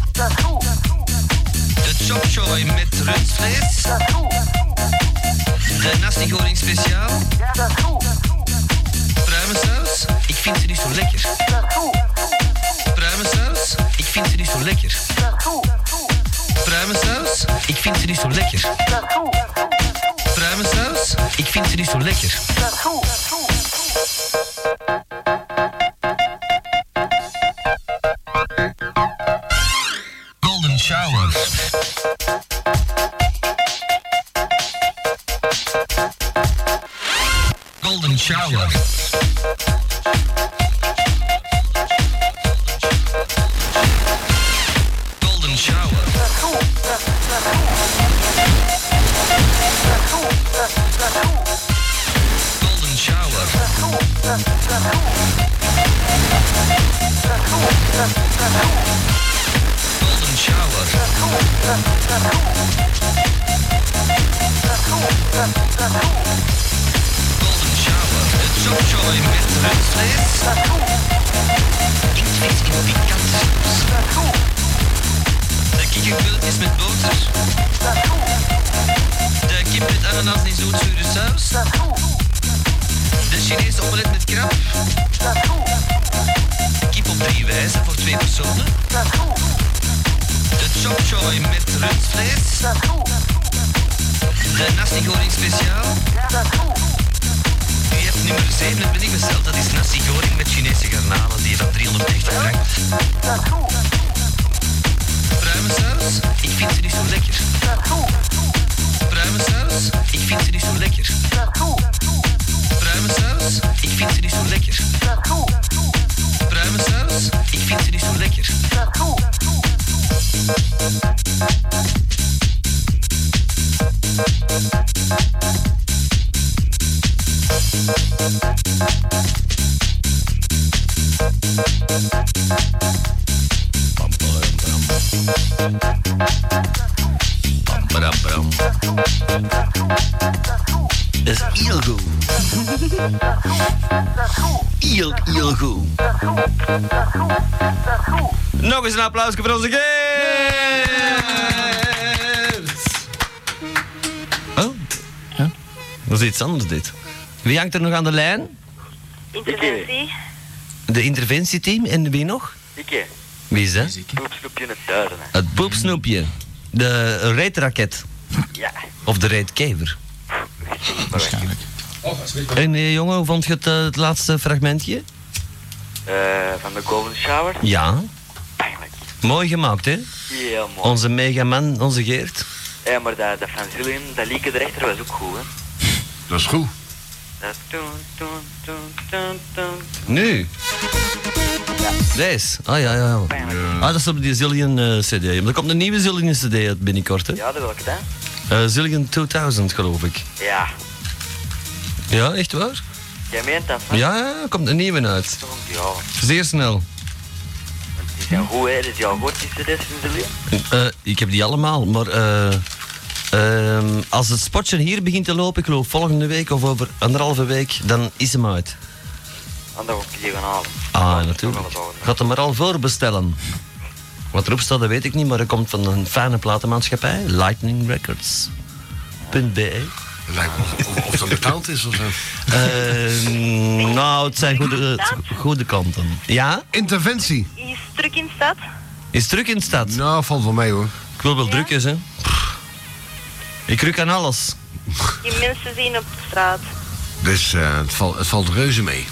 C: De chop choy met rundvlees. De nasi goreng speciaal. Pruimensaus, ik vind ze niet zo lekker. Pruimensaus, ik vind ze niet zo lekker. Pruimensaus, ik vind ze niet zo lekker. Pruimensaus, ik vind ze niet zo lekker. Golden Shower. Golden Shower. Golden Shower. Golden Shower. Golden Shower. Golden Shower. De chop-choy met rundvlees. Inktvis in pikante saus. De kikkerbilletjes met boter. De kip met ananas in zootzure saus. De Chinese omelet met krab. Kip op drie wijzen voor twee personen. De chop choy met rundvlees. De nasi goreng speciaal. U hebt nummer 27 besteld. Dat is nasi goreng met Chinese garnalen. Die van 390 frank. Pruimensaus? Ik vind ze niet zo lekker. Pruimensaus? Ik vind ze niet zo lekker. Pruimensaus? Ik vind ze niet zo lekker. Pruimensaus? Ik vind ze niet zo lekker.
W: Dat is heel goed. Heel, heel goed. Nog eens een applausje voor onze Geert.
C: Oh, Dat is iets anders dit. Wie hangt er nog aan de lijn?
J: Interventie.
C: De interventieteam en wie nog?
K: Ikke.
C: Wie is dat?
K: Poepsnoepje in het duiden. hè.
C: Het poepsnoepje. De reetraket.
K: Ja.
C: Of de reetkever. Waarschijnlijk. En eh, jongen, hoe vond je het, eh, het laatste fragmentje?
K: Eh, van de Golden Shower.
C: Ja. Mooi gemaakt, hè?
K: Heel mooi.
C: Onze megaman, onze Geert.
K: Ja, maar dat, dat van Zillium, dat Lieke de rechter was ook goed, hè.
B: (laughs) Dat is goed.
K: Dat toen, toen, toen, toen, toen.
C: Nu. Deze. Ah, ja, ja. ja. Ah, dat is op die Zillion eh, CD. Maar er komt een nieuwe Zillion CD uit binnenkort, hè?
K: Ja, dat welke dan?
C: Eh, Zillion 2000, geloof ik.
K: Ja.
C: Ja, echt waar?
K: Jij meent dat,
C: Ja,
K: van?
C: ja, er komt een nieuwe uit.
K: Ja.
C: Zeer snel.
K: Die zijn goed, hè. Die zijn goed, die CD's van Zillium.
C: Eh, ik heb die allemaal, maar eh, ehm, als het spotje hier begint te lopen, ik geloof volgende week of over anderhalve week, dan is hem uit.
K: En dat wordt die gaan halen.
C: Ah, natuurlijk. Gaat hem maar al voor bestellen. Wat erop staat, dat weet ik niet, maar dat komt van een fijne platenmaatschappij, Lightning Records. Eh, .be.
B: Lijkt me of dat betaald is of zo.
C: Ehm, (laughs) nou, het zijn goede, het- goede kanten. Ja?
B: Interventie.
J: Is druk in stad?
C: Is druk in de stad?
B: Nou, valt wel mee hoor.
C: Ik wil wel druk is, hè. Pff. Ik ruk aan alles.
J: Die mensen zien op de straat.
B: Dus eh, het, valt, het valt reuze mee.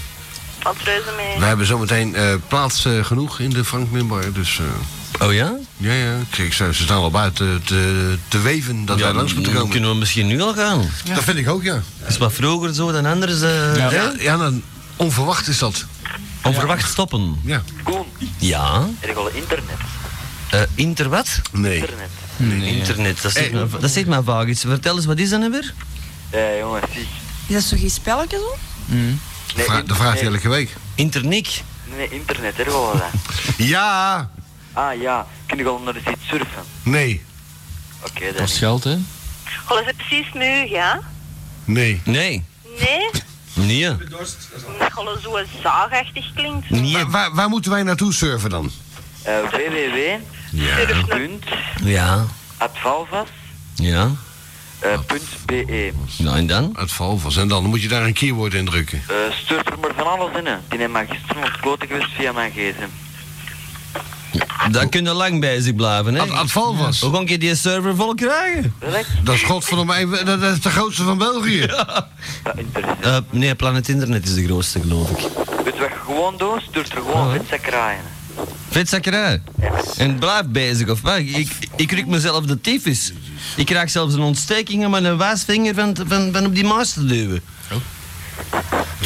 J: Valt reuze mee.
B: We hebben zometeen eh plaats eh, genoeg in de Frank Minbar, dus...
C: oh ja?
B: Ja, ja. Kijk, ze ze staan al buiten te, te weven dat
C: Ja,
B: wij langs moeten
C: dan
B: komen.
C: kunnen we misschien nu al gaan.
B: Dat vind ik ook, ja.
C: Dat is wat vroeger zo dan anders. eh,
B: Ja,
C: hè?
B: ja, ja, dan onverwacht is dat.
C: Onverwacht stoppen.
B: Ja.
K: Koen,
C: Ja.
K: er is al internet.
C: Eh, inter wat?
B: Nee.
K: Internet.
C: Internet, dat zegt,
K: Eh,
C: maar, dat zegt maar vaag iets. Vertel eens, wat is dat nou weer?
K: Ja, jongen, zie.
F: Is dat zo geen spelletje zo?
K: Nee,
B: Vra- dat vraagt hij
K: nee.
B: elke week.
C: Internik.
K: Nee, internet, hè, gewoon dat.
B: Ja!
K: Ah, ja. Kun je gewoon naar de site surfen?
B: Nee.
K: Oké, dan.
C: geld, hè?
J: Goh, is het precies nu, ja?
B: Nee.
C: Nee.
J: Nee?
C: Nee.
J: Goh, zo zaagachtig klinkt.
B: Waar, waar, waar moeten wij naartoe surfen dan?
K: Eh, www.
B: Ja.
K: Punt.
C: Ja.
K: Advalvas.
C: Ja.
K: eh, punt be.
C: Nou, en dan?
B: Het val was. En dan moet je daar een keyword in drukken.
K: Eh surf er maar van alles in, hè. Die heeft mij gisteren ontkloten geweest via mijn gsm.
C: Daar kun je lang bezig blijven, hè?
B: Ad- Adval was.
C: Hoe kon je die server vol krijgen?
K: Welk?
B: Dat is godverdomme, even- dat dat is de grootste van België.
C: Eh, nee, Planet Internet is de grootste, geloof ik.
K: Weet je wat je gewoon doet? Stuurt er gewoon witzakken kraaien.
C: Vetzakkerij. En blijf bezig, of wat? Ik, ik ruk mezelf de tyfus. Ik krijg zelfs een ontsteking om mijn wijsvinger van, van, van op die muis te duwen.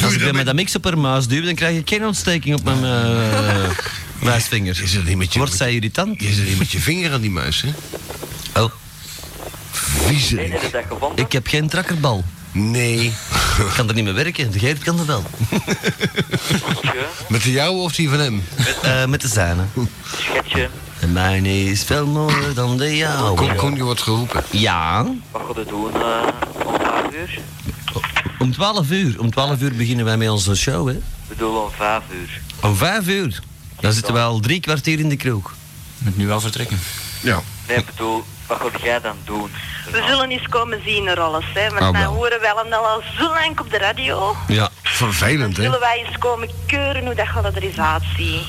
C: Als ik met dat mix op haar muis duw, dan krijg ik geen ontsteking op mijn eh, (laughs) wijsvinger.
B: Is dat niet met je,
C: Wordt zij irritant?
B: is dat niet met je vinger aan die muis, hè?
C: Oh.
B: Viezerik.
C: Ik heb geen trakkerbal.
B: Nee.
C: Ik kan er niet mee werken, de Geert kan dat wel.
B: Met de jouwe of die van hem?
C: Eh, met de zijne.
K: Schetje.
C: De mijne is veel mooier dan de jouwe.
B: Kom, kom, je wordt geroepen.
C: Ja.
K: Wat gaat het doen eh, om 5 uur?
C: Om 12 uur. Om 12 uur beginnen wij met onze show, hè?
K: Ik bedoel om 5 uur.
C: Om vijf uur? Dan zitten we al drie kwartier in de kroeg. Moet nu wel vertrekken.
B: Ja.
K: Nee, ik bedoel, wat gaat jij dan doen?
J: We zullen eens komen zien er alles, hè. Want
K: Ah,
J: wij
K: wel.
J: horen wel en al al zo lang op de radio.
C: Ja.
B: Vervelend, hè?
J: Zullen wij eens komen keuren hoe dat gaat er eens uitzien?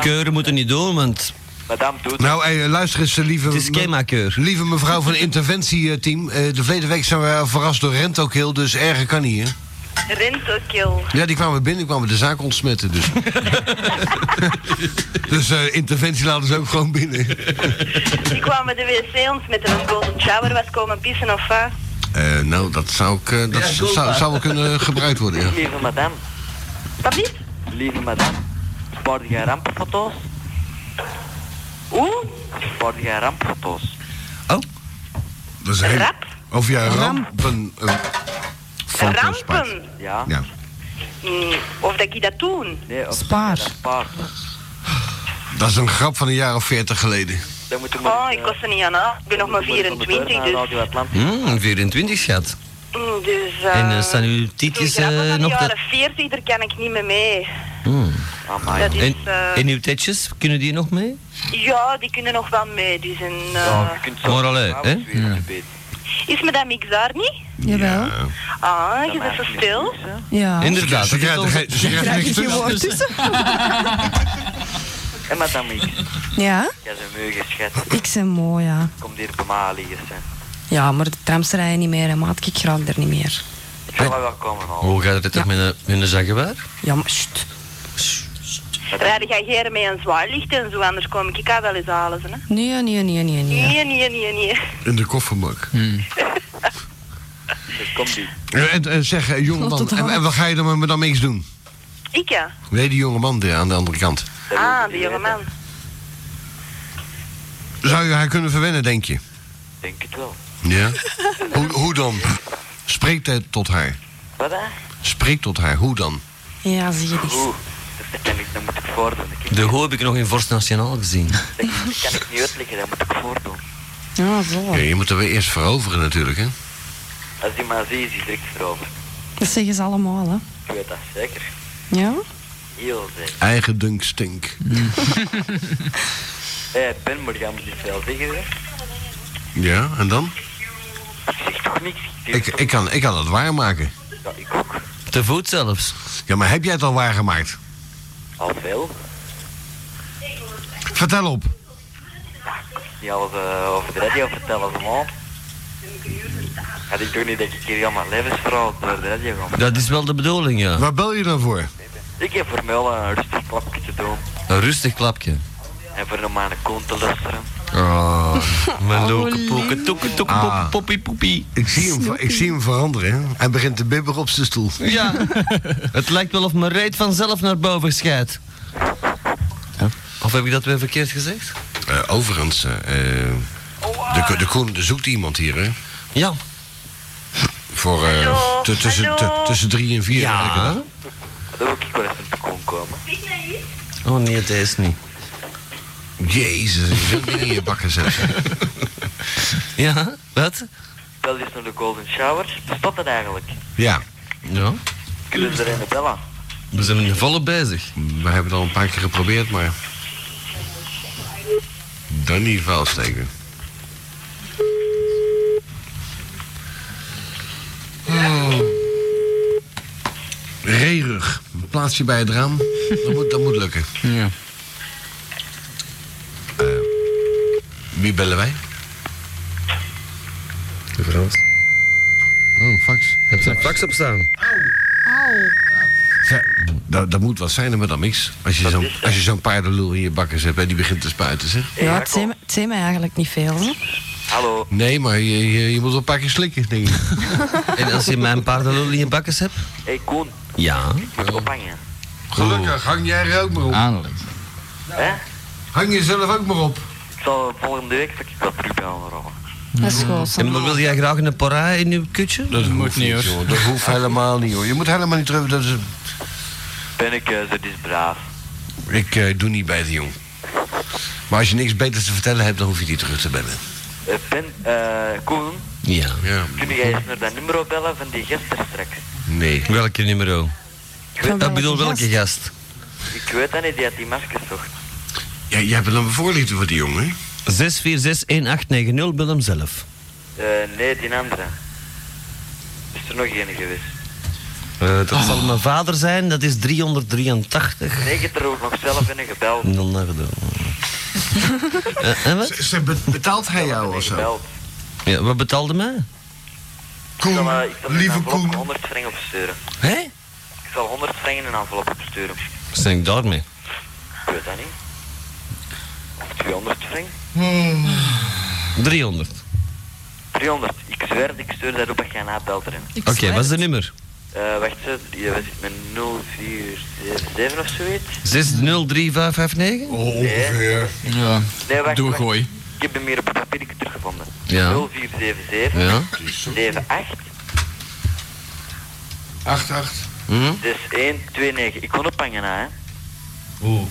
C: Keuren moeten niet doen, want...
K: Madame doet
B: Nou, hey, luister eens, eh, lieve...
C: Het is kemakeur.
B: Lieve mevrouw van het interventieteam. eh, de verleden week zijn we verrast door Rento Kill, dus erger kan niet, hè?
J: Rentokill.
B: Ja, die kwamen binnen, kwamen de zaak ontsmetten, dus... dus eh, interventie laten ze ook gewoon binnen.
J: Die kwamen de wc ons met een golden shower was komen pissen of wat?
B: Eh, nou, dat zou, ik, eh, dat
K: Ja,
B: zou,
K: goed.
B: zou wel kunnen gebruikt worden, ja.
K: Lieve madame.
J: Dat niet?
K: Lieve madame. Spaar jij rampenfoto's? Oeh? Spaar jij rampenfoto's?
B: Dat is een hele- Of ja, rampen. eh, foto's maakt.
J: Rampen?
K: Ja.
B: Ja.
J: Mm, of dat ik dat doen?
K: Nee, of
J: Spaar.
K: Spaar.
B: Dat is een grap van een jaar of veertig geleden.
K: Dan moet je maar... eh,
J: Oh, ik kost er niet aan aan. Ik ben nog maar 24, dus...
C: Mm, 24 schat.
J: mm, dus eh,
C: En eh, staan uw tietjes
J: zo'n grap
C: eh,
J: van de
C: nog...
J: jaren
C: te-
J: 40, daar kan ik niet meer mee.
C: Mm.
K: Ah,
J: Dat is,
C: En,
J: eh,
C: en uw tetjes, kunnen die nog mee?
J: Ja, die kunnen nog wel mee, dus... En, eh,
C: Maar allee, hè?
K: Ja.
J: Is madame Mix daar niet?
F: Jawel.
J: Ah, je bent zo stil.
F: Ja.
B: Inderdaad, ze krijgt- ze krijgt- ze
F: Daar
B: krijgt
F: krijg
B: niks
F: je geen woord
B: tussen.
F: tussen.
K: En madame X.
F: ja?
K: Ja, zijn meugen schat.
F: Ik zijn mooi, ja.
K: Kom hier bij mij liggen. hè.
F: Ja, maar de trams rijden niet meer, hè, maat. Ik raak er niet meer.
K: Ik zal wel wel komen al.
Y: Hoe gaat het toch met een- met een zaggewaar?
F: Ja, maar sst.
J: Rijd jij hier met een zwaar licht en zo, anders kom ik ik ga wel eens halen. Hè?
F: Nee, nee, nee, nee, nee.
J: Nee, nee, nee, nee.
B: In de kofferbak.
K: Kom die.
B: En, en, en zeg, eh,
J: Klopt
B: jongeman,
J: het
B: en,
J: wel?
B: en wat ga je dan met madame X doen?
J: Ik ja.
B: Nee, die jongeman daar aan de andere kant.
J: Ah, de jonge man.
B: Zou je haar kunnen verwennen, denk je?
K: Denk het wel.
B: Ja. hoe, hoe dan? Spreek hij tot haar.
K: Wat hè?
B: Spreek tot haar, hoe dan?
F: Ja, zie je
K: Oeh, dat kan ik, dat moet ik voordoen. Dat kan
C: De hoe heb ik nog in Vorst Nationaal gezien.
K: ik- dat kan ik niet uitleggen, dat moet ik voordoen.
F: Ja, zo.
B: Ja, je moet er weer eerst veroveren natuurlijk, hè?
K: Als die maar ziet, is hij direct veroverd.
F: Dat zeggen ze allemaal, hè.
K: Ik weet dat zeker.
F: Ja?
K: Heel zeker.
B: Eigen dunk stink.
K: Hé, Eh, Ben, maar jij moet niet veel zeggen, hè?
B: Ja, en dan?
K: Toch niks.
B: Ik, ik, kan, ik kan het waarmaken.
K: Ja, ik ook.
B: Te voet zelfs. Ja, maar heb jij het al waargemaakt?
K: Al veel.
B: Vertel op.
K: Niet alles eh, over de radio vertellen, allemaal. Had ik toch niet dat ik hier allemaal levensverhaal door de radio ga.
C: Dat is wel de bedoeling, ja.
B: Waar bel je dan voor?
K: Ik heb voor mij wel een rustig klapje te doen.
C: Een rustig klapje.
K: En voor een mijn kont te luisteren.
B: Oh,
C: mijn loke poeke, toeke, toeke,
B: Ah.
C: poep, poppie, poepie.
B: Ik zie hem, ik zie hem veranderen. hè. Hij begint te bibberen op zijn stoel.
C: Ja, het lijkt wel of mijn reet vanzelf naar boven schijt. Of heb ik dat weer verkeerd gezegd?
B: Eh, overigens, eh, eh,
K: Oh,
B: de, ko- de
K: ah.
B: Koen zoekt iemand hier, hè?
C: Ja.
B: Voor eh,
K: Hallo,
B: t- tussen,
K: hallo.
B: t- tussen drie en vier.
C: Ja.
B: elke dag.
K: Dat wil ik wel even te kon komen.
C: Oh nee, is niet.
B: Jezus, je zult niet in je bakken
C: (laughs)
B: zetten.
C: Ja, wat?
K: Bel is naar de Golden Shower. Bestaat dat eigenlijk?
B: Ja.
C: Ja,
K: Kunnen ze erin bellen?
C: we zijn nu volop bezig.
B: We hebben het al een paar keer geprobeerd, maar... Dan niet vuil steken. Oh. Reerug. Plaats je bij het raam. Dat moet, dat moet lukken. Eh,
P: Ja.
B: Wie bellen wij?
Y: De Frans.
B: Oh, fax.
Y: Heb je een fax op staan?
B: Ja, dat, dat moet wat zijn, hè, maar dan niks. Als je zo'n als je zo'n paardenlul in je bakken hebt en die begint te spuiten, zeg.
F: Ja, het zei me- het zei mij eigenlijk niet veel, hè.
K: Hallo.
B: Nee, maar je, je, je moet wel een paar keer slikken, denk ik.
C: En als je mijn paardenlul in je bakkes hebt?
K: Hé, hey, Koen.
C: Ja.
K: Moet ik ophangen?
B: Gelukkig, hang jij er ook maar op.
K: Hè?
B: Hang jezelf ook maar op.
K: Ik zal volgende week zal ik wel terugbellen, Robben.
F: Dat is goed.
C: En Mhm. maar wil jij graag een pora in je kutje?
B: Dat moet niet, hoor. Dat (laughs) hoeft helemaal niet, hoor. Je moet helemaal niet terug. Dat is,
K: Ben ik, eh, dat is braaf.
B: ik eh, doe niet bij de jong. Maar als je niks beters te vertellen hebt, dan hoef je die terug te bellen.
K: Eh, ben, eh, Koen,
C: Ja.
B: Ja.
K: kun jij eens naar dat nummer bellen van die gast daar straks?
B: Nee.
C: Welke nummer? oh?
K: Ik weet,
C: Ik bedoel, welke gast?
K: ik weet dat niet, die had die maskers toch.
B: Ja, jij bent een voorliefde voor die jongen.
C: 6461890, bel hem zelf.
K: Eh, nee, die andere. Is er nog een geweest?
C: Eh, dat zal mijn vader zijn, dat is 383.
K: Nee, ik heb er ook nog zelf in gebeld.
C: Nul naar de- Eh, en wat?
B: betaalt hij jou of
K: Gebeld.
C: Ja, wat betaalde mij?
K: Ik zal, eh, ik zal in een envelop 100 frank opsturen.
C: Hé?
K: Ik zal 100 frank in een envelop opsturen.
C: Wat ben ik daarmee?
K: Ik weet dat niet. Of 200 frank?
C: 300.
K: 300. Ik zweer dat ik stuur dat op dat jij nabelt erin.
C: Oké, wat is de nummer?
K: Eh, wacht, zo, je was met 0477 of zoiets?
C: 603559?
K: ongeveer.
P: Ja.
K: Nee, wacht,
P: Doe een
K: wacht.
P: gooi.
K: Ik heb hem hier op het papier teruggevonden.
C: Ja.
K: 0477
C: Ja.
K: 78
B: 8-8.
C: Hm?
K: dus 129. Ik kon ophangen na, hè?
C: Oeh.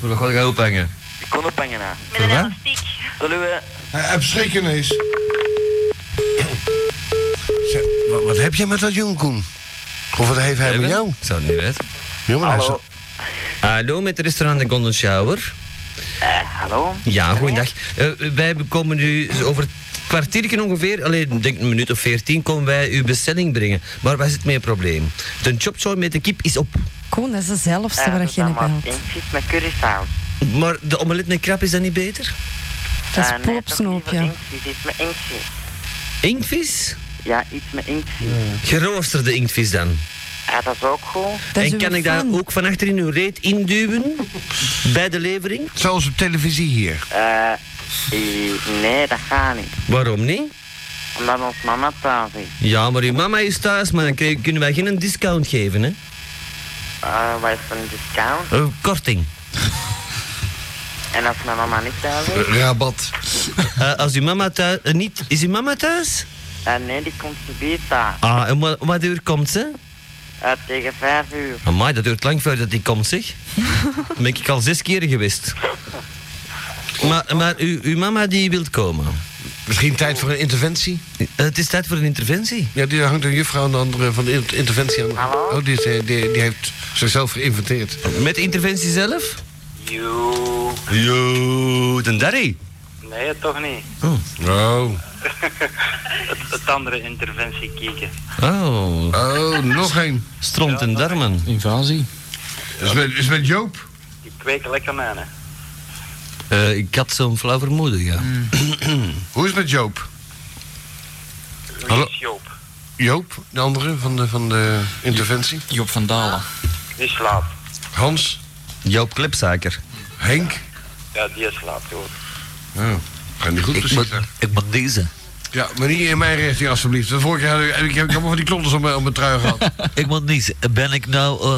C: Hoe ga ik ophangen?
K: Ik kon ophangen na.
C: Voor wat?
K: Zullen we.
B: Hij schrik ineens. Wat, wat heb jij met dat jong, Koen? Of wat heeft hij met jou?
C: Ik zou het niet weten.
B: Ja, maar hij is-
C: Hallo, met het restaurant de Golden Shower.
K: Eh, hallo?
C: Ja, goeiedag. Eh, wij komen nu over kwartiertje ongeveer, alleen denk een minuut of veertien, komen wij uw bestelling brengen. Maar waar zit mijn probleem? De chopchoy met de kip is op.
F: Koen, dat is dezelfde waar je in belt.
K: Eentjes met currysaus.
C: Maar de omelet met krap is dat niet beter?
F: Dat is
K: Eh, nee,
F: poepsnoepje.
K: toch liever inktvis, iets met inktvis.
C: Inkvis?
K: Ja, iets met inktvis.
C: Geroosterde inktvis dan.
K: Ja, dat is ook goed.
C: en kan ik daar ook van achter in uw reet induwen? bij de levering?
B: Zoals op televisie hier.
K: Eh, eh, nee, dat gaat niet.
C: Waarom niet?
K: Omdat ons mama thuis is.
C: Ja, maar uw mama is thuis, maar dan krijgen- kunnen wij geen discount geven, hè?
K: Eh, wat is voor een discount?
C: Eh, korting.
K: En als mijn mama niet thuis is?
B: Rabat.
C: als uw mama thuis... eh, niet... Is uw mama thuis?
K: Eh, nee, die komt te beet daar.
C: Ah, en wa- om wat uur komt ze?
K: Eh, tegen vijf uur.
C: Amai, dat duurt lang voordat die komt,
K: (laughs)
C: zeg. Dan ben ik al zes keer geweest. Maar, maar uw, uw mama die wil komen. Eh,
B: Misschien tijd voor een interventie?
C: het is tijd voor een interventie.
B: Ja, die hangt een juffrouw aan de andere van de in- interventie aan. Oh, die, is, eh, die, die heeft zichzelf geïnventeerd.
C: Met de interventie zelf?
N: Joe.
C: Yo, den Darry.
N: Nee, toch niet.
C: Oh.
B: Oh.
N: het, het andere interventie kijken.
C: Oh.
B: Oh, nog een.
C: Stront en darmen.
P: Invasie.
B: Is met, is met Joop?
N: Die kweken lekker mannen.
C: Eh, ik had zo'n flauw vermoeden, ja.
B: Hoe is het met Joop? Hallo?
N: Joop.
B: Joop, de andere van de, van de interventie?
P: Joop van Dalen.
H: Ah.
N: Die slaapt.
B: Hans?
C: Joop Klepzaker.
B: Henk?
N: Ja, die slaapt hoor.
B: Oh, gaat niet goed
Y: Ik
B: precies.
Y: moet-
B: hè?
Y: Ik moet deze.
B: Ja, maar niet in mijn richting alsjeblieft. De vorige keer had ik, ik heb allemaal van die klonters op mijn, op mijn trui (laughs) gehad.
Y: Ik moet niet. Ben ik nou eh,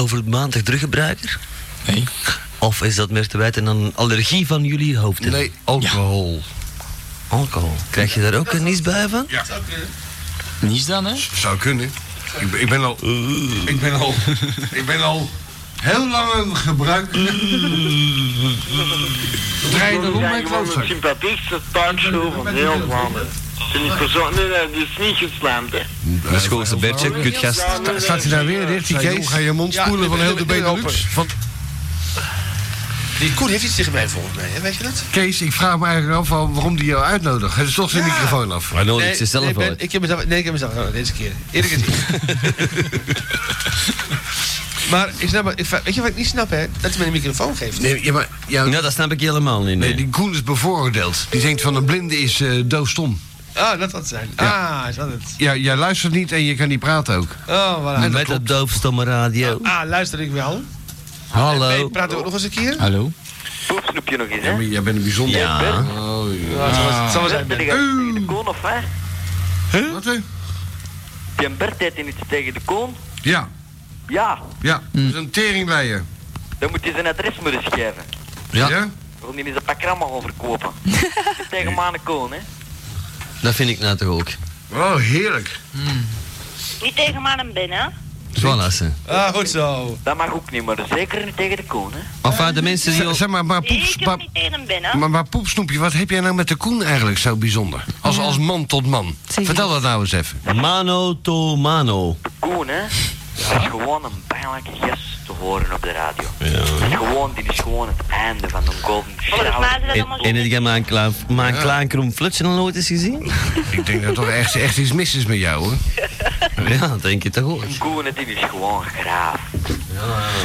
Y: over het maandag teruggebruiker?
P: Nee.
C: Of is dat meer te wijten aan een allergie van jullie hoofden?
B: Nee, alcohol.
C: Alcohol. Krijg je daar ook een niets bij van?
B: Ja.
P: Niets dan, hè?
B: Zou kunnen. Ik, ben- ik ben al... Ik ben al... Ik ben al... Heel lang een (laughs) gebruiker. Draai erom,
N: Ja, gewoon
B: mijn
N: het
B: klootzak.
N: sympathiekste tuinschool van heel Vlaanderen. Zijn die persoon, nee, nee, die is niet geslamd, hè.
C: De schoolse Bertje, kutgast.
B: Sta- Staat hij daar weer dicht, die
H: Zei,
B: Kees?
H: joh,
B: Ga je mond spoelen van heel de Benelux? Want
H: Die Koen heeft iets tegen mij volgens mij, hè? weet je dat?
B: Kees, ik vraag me eigenlijk af waarom waarom die jou uitnodigt. Hij is toch zijn
H: Ja.
B: microfoon af.
C: Hij nodigt
H: Nee,
C: zichzelf
H: nee,
C: uit.
H: ben- ik heb mezelf, nee, ik heb mezelf oh, deze keer.
C: (laughs)
H: Eerlijk gezien. maar ik snap, het- ik, weet je wat ik niet snap, hè? Dat hij mij een microfoon geeft.
B: Nee, ja, maar, ja,
C: Nou, dat snap ik helemaal niet.
B: nee,
C: Nee.
B: die Koen is bevooroordeeld. Die denkt van een blinde is eh doofstom.
H: Ah, dat dat zijn. Ah, is dat het.
B: Ja, jij luistert niet en je kan niet praten ook.
H: Oh, voilà.
C: Met de doofstomme radio.
H: Ah, luister ik wel. En
C: Hallo.
H: mee praten we ook nog eens een keer?
P: Hallo.
K: Poepsnoepje nog eens, hè?
B: Ja, maar jij bent een bijzonder.
C: Ja.
B: Oh,
H: Ja, zal wel- zal wel zijn,
J: Dus
K: Ben
H: Ben.
K: je tegen de koon of hè?
B: Wat hè?
K: Die Bert deed niet tegen de koon?
B: Ja,
K: Ja,
B: ja.
C: Hm.
B: Dat is een teringleier.
K: dan moet je zijn adres maar eens geven.
B: Ja.
K: Wil die eens een pak rammen gaan verkopen? Dat is tegen Mane Koon, hè?
C: Dat vind ik nou toch ook.
B: Oh, heerlijk.
J: Niet tegen mannen binnen, hè?
C: Zwallassen.
H: Ah, goed zo.
K: Dat mag ook niet, maar zeker niet tegen de koon, hè?
C: Enfin, de mensen die...
B: Z-
C: al-
B: Zeg maar, maar
J: Ik
B: poeps...
J: heb
B: maar-
J: niet tegen hem binnen.
B: Maar, maar Poepsnoepje, wat heb jij nou met de Koen eigenlijk zo bijzonder? Als, als man tot man. Vertel dat nou eens even.
C: Mano to mano.
K: Koen, hè? Dat is gewoon een pijnlijke gest te horen op de radio. Dat is gewoon, dit is gewoon het einde van de Golden
J: Volgens mij zijn dat
C: En,
J: allemaal
C: en heb jij mijn klaar, mijn klaar krom flutje al nooit eens gezien?
B: Ik denk dat toch echt, echt iets mis is met jou, hoor.
C: Ja, dat denk je toch ook.
K: Koen, hè, dit is gewoon graaf.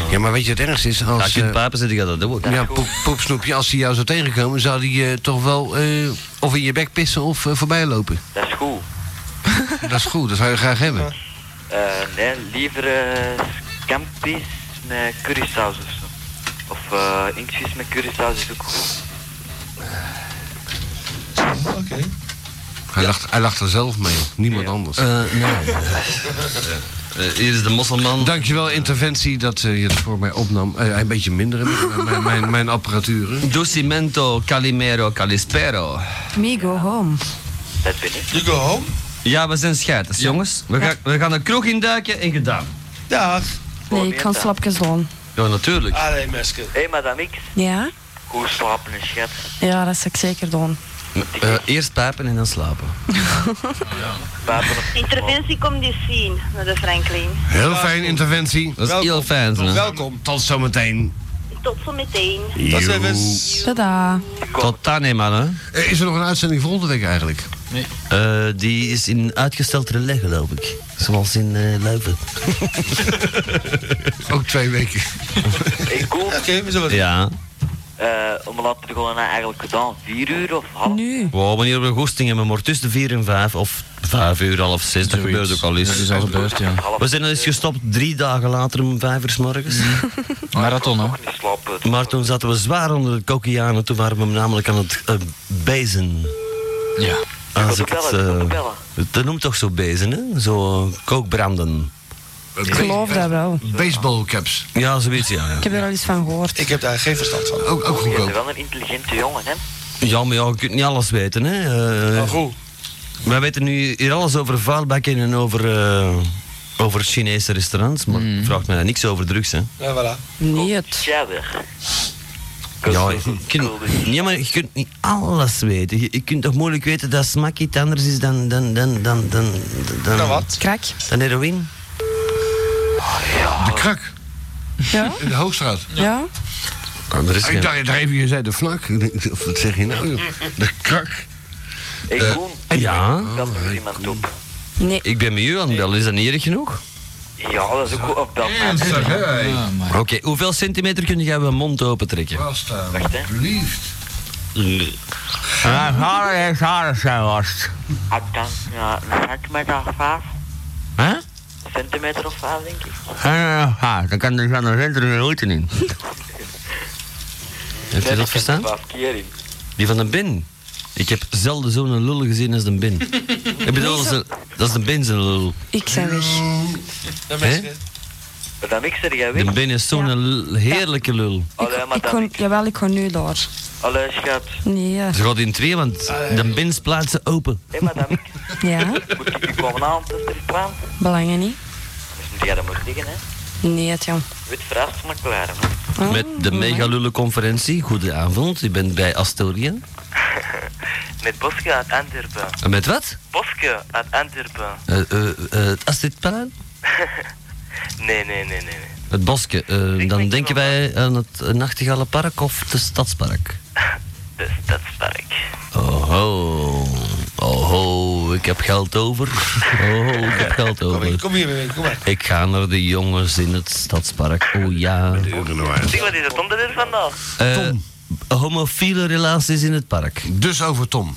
B: Ja, maar weet je wat het ergste is?
C: Ja,
B: Als,
C: kunt
B: eh,
C: papen zitten, gaat dat ook.
B: ja, poep, Poepsnoepje, als hij jou zou tegenkomen, zou hij eh, toch wel eh, of in je bek pissen of eh, voorbij lopen.
K: Dat is goed.
B: Dat is goed, dat zou je graag hebben.
K: Eh, nee, liever eh scampi's met currysaus of zo. Of eh inktvis met currysaus is ook goed.
H: Oké.
B: Hij, lacht, hij lacht er zelf mee, niemand anders.
C: Eh, nou. Eh, hier is de mosselman.
B: Dankjewel, interventie, dat eh, je het voor mij opnam. Eh, een beetje minder, eh, mijn, mijn, mijn apparaturen.
C: Docimento, calimero, calispero.
F: Me go home.
K: Dat ben ik.
H: You go home.
C: Ja, we zijn scheiders, jongens. We, gaan we gaan de kroeg induiken en gedaan.
H: Dag.
F: Nee, ik kan slapjes doen.
C: Ja, natuurlijk.
H: Allee, meske.
K: Hé, hey, madame X.
F: Ja?
K: Goed slapen en schat.
F: Ja, dat zou ik zeker doen.
C: Eh, eerst pijpen en dan slapen.
K: Papen op
J: Interventie komt dus zien, naar de Franklin.
B: Heel fijn, interventie.
C: Dat is heel fijn, hè?
H: Welkom.
B: Tot zometeen.
J: Tot zometeen.
C: Dat zijn we.
F: Tada.
C: Tot dan, hè, mannen.
B: Eh, Is er nog een uitzending volgende week eigenlijk?
C: Nee. Eh, die is in uitgesteld relais, geloof ik. Zoals in eh Leuven.
B: Ook twee weken.
K: Hey, cool.
C: Ja.
K: Eh, om laten we gewoon eigenlijk gedaan, vier uur of half.
F: Nu.
C: Wow, wanneer we goesting hebben, maar tussen 4 en 5 of 5 uur, half 6, dat gebeurt ook al eens.
P: Dat is al gebeurd, ja.
C: We zijn al eens gestopt drie dagen later om 5 uur s morgens.
P: Marathon, hè?
C: Maar toen zaten we zwaar onder de kokianen, toen waren we hem namelijk aan het eh, bezen.
P: Ja.
C: Als ik
K: bellen,
C: het, eh,
K: ik wil bellen.
C: dat noemt toch zo bezen, hè? Zo eh, kookbranden.
F: Ik geloof dat wel.
B: Baseballcaps.
C: Ja, zoiets, ja. ja.
F: Ik heb er al iets van gehoord.
H: Ik heb daar geen verstand van.
B: Ook, ook
K: Je bent
B: goedkoop.
K: wel een intelligente jongen, hè?
C: Ja, maar ja, je kunt niet alles weten, hè. Eh,
H: goed.
C: Wij weten nu hier alles over vuilbakken en over, eh, over Chinese restaurants, maar vraagt mij niks over drugs, hè.
H: Ja, voilà.
F: Niet.
K: Jabber.
C: Ja, je kunt,
K: dus.
C: ja, maar je kunt niet alles weten. Je, je kunt toch moeilijk weten dat smak iets anders is dan... Dan, dan, dan, dan, dan,
H: Dan wat?
F: Krak.
C: Dan heroïne.
B: De krak.
F: Ja?
B: In de Hoogstraat.
F: Ja?
C: Ah, er is
B: ik
C: geen...
B: dacht, daar even, je zei de vlak. Of wat zeg je nou? joh? De krak.
K: Ik
B: Eh,
K: Koen,
C: Ja,
K: bel er iemand op.
F: Nee.
C: ik ben met u aan het bellen. Is dat niet erg genoeg?
K: Ja, dat is ook goed. Of bel mij.
B: Ernstig, hè?
P: Ah, maar
C: Oké, hoeveel centimeter kun jij mijn mond open trekken?
B: Basta,
K: Wacht, hè.
B: alsjeblieft.
C: Eh, Haar en haar zijn was.
K: Ik denk, ja, een centimeter of vijf.
C: Hè?
K: Centimeter of vijf, denk ik.
C: Haar, dan kan er van een renter een ooit (laughs) in. Heeft u
K: Nee,
C: dat verstaan?
K: Vijf keer in.
C: Die van de bin. Ik heb zelden zo'n lul gezien als de bin. Ik bedoel, dat is de, dat is de bin zijn lul.
F: Ik zijn weg.
C: Hè?
K: Maar dan mixer jij
C: De
K: weg.
C: bin is zo'n lul- heerlijke lul.
K: Allee, maar
F: Ik
K: dan
F: kon,
K: mix.
F: jawel, ik kon nu door.
K: Allee, schat.
C: (laughs)
F: Nee.
C: Ze gaat in twee, want de bins plaatsen open.
K: Hé, maar dan mix.
F: Ja?
K: Moet ik je komen aan, dat is de plan.
F: Belangen niet?
K: Dus moet jij dat maar liggen, hè?
F: Nee, het jong.
K: Wit verrast, maar klaar. hè.
F: Oh,
C: Met de megalullenconferentie. Goedenavond, u bent bij Astoria.
K: Met Boske uit Antwerpen.
C: En Met wat?
K: Boske uit Antwerpen.
C: Eh eh eh, het Astridplein?
K: Nee, nee, nee, nee. nee.
C: Het bosje. Eh, dan denken wij aan het Nachtigallenpark of de Stadspark.
K: De stadspark.
C: Oho. Oho, ik heb geld
H: (laughs)
C: over. Oho, ik heb geld over.
H: Kom hier, mee, kom maar.
C: Ik ga naar de jongens in het Stadspark. Oh ja.
K: Zeg, wat is het onderwerp vandaag?
C: Eh, homofiele relaties in het park.
B: Dus over Tom.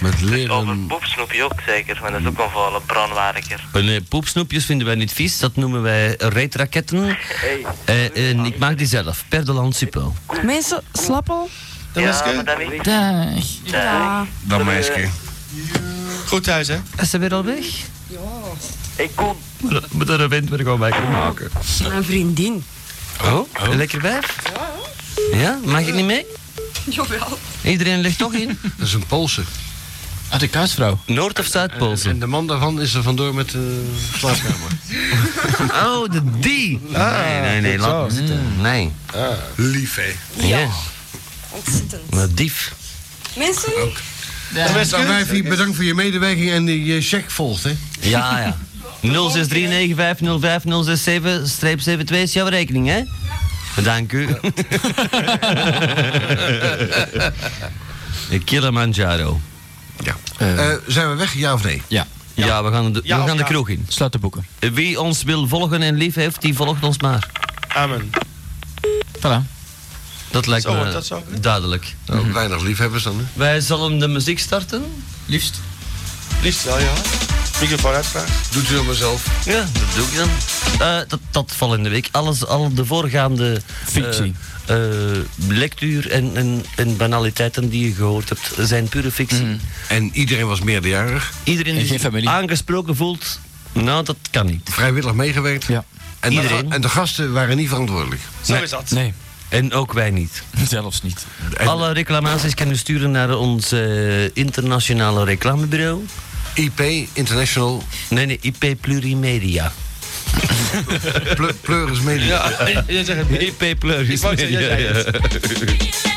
B: Met
K: Over
C: ehm,
B: leren...
K: poepsnoepje ook zeker, maar dat is ook een vuile brandwaardiger.
C: En, eh, poepsnoepjes vinden wij niet vies, dat noemen wij reitraketten.
K: Hey.
C: Eh, en ik maak die zelf, per de land suppo.
F: Mensen, slappel.
K: Ja, maar dat weet ik.
F: Dag. Ja.
B: Dan meisje.
H: Goed thuis, hè?
C: Is ze weer al weg?
K: Ik kom.
C: Moet er een wind weer gewoon bij kunnen maken.
F: Mijn vriendin.
C: Oh, een lekker wijf? Ja. mag ik niet mee?
F: Jawel.
C: Iedereen ligt toch in?
B: Dat is een Poolse.
P: Ah, de kuisvrouw.
C: Noord- of
B: En
C: Zuidpoolse?
B: de man daarvan is er vandoor met de slaapkamer.
C: Oh, de die! Nee, nee, nee, laat me zitten. Nee.
B: Lief, hè?
C: Ja.
F: Ontzettend.
C: Een dief.
F: Mensen,
B: Dan wijfie, bedankt voor je medewerking en die eh, check volgt, hè?
C: Ja, ja. 063950507-72 is jouw rekening, hè? Dank u. (laughs) Kilimanjaro.
B: Eh, zijn we weg, ja of nee?
P: Ja.
C: Ja, we gaan, de, we gaan de kroeg in.
P: Sluit de boeken.
C: Wie ons wil volgen en lief heeft, die volgt ons maar.
H: Amen.
P: Voilà.
C: Dat lijkt
H: Zo,
C: me
H: wordt dat zo?
C: duidelijk.
B: Nou, Weinig liefhebbers dan, hè?
C: Wij zullen de muziek starten.
P: Liefst.
H: Liefst wel, ja. Microfoon uitvraag.
B: Doet u dat maar zelf.
C: Ja, dat doe ik dan. Eh, dat, dat valt in de week. Alles, al de voorgaande
P: Fictie.
C: eh, eh, lectuur en, en, en banaliteiten die je gehoord hebt, zijn pure fictie.
B: En iedereen was meerderjarig.
C: Iedereen
P: Mhm. En
C: die
P: geen
C: zich
P: familie.
C: aangesproken voelt, nou dat kan niet.
B: Vrijwillig meegewerkt.
P: Ja.
B: En, de,
C: Iedereen.
B: ga- en de gasten waren niet verantwoordelijk.
H: Zo
C: Nee.
H: is dat.
P: Nee,
C: En ook wij niet.
P: (laughs) zelfs niet.
B: En-
C: Alle reclamaties kan u sturen naar ons eh, internationale reclamebureau.
B: IP, International,
C: Nee, nee, IP Plurimedia.
B: Ple- Pleuris Media.
C: (laughs)
H: Ja, jij zegt het.
C: IP
H: Ik wou
C: Plurimedia.
H: zeggen, jij zei het.
C: ja.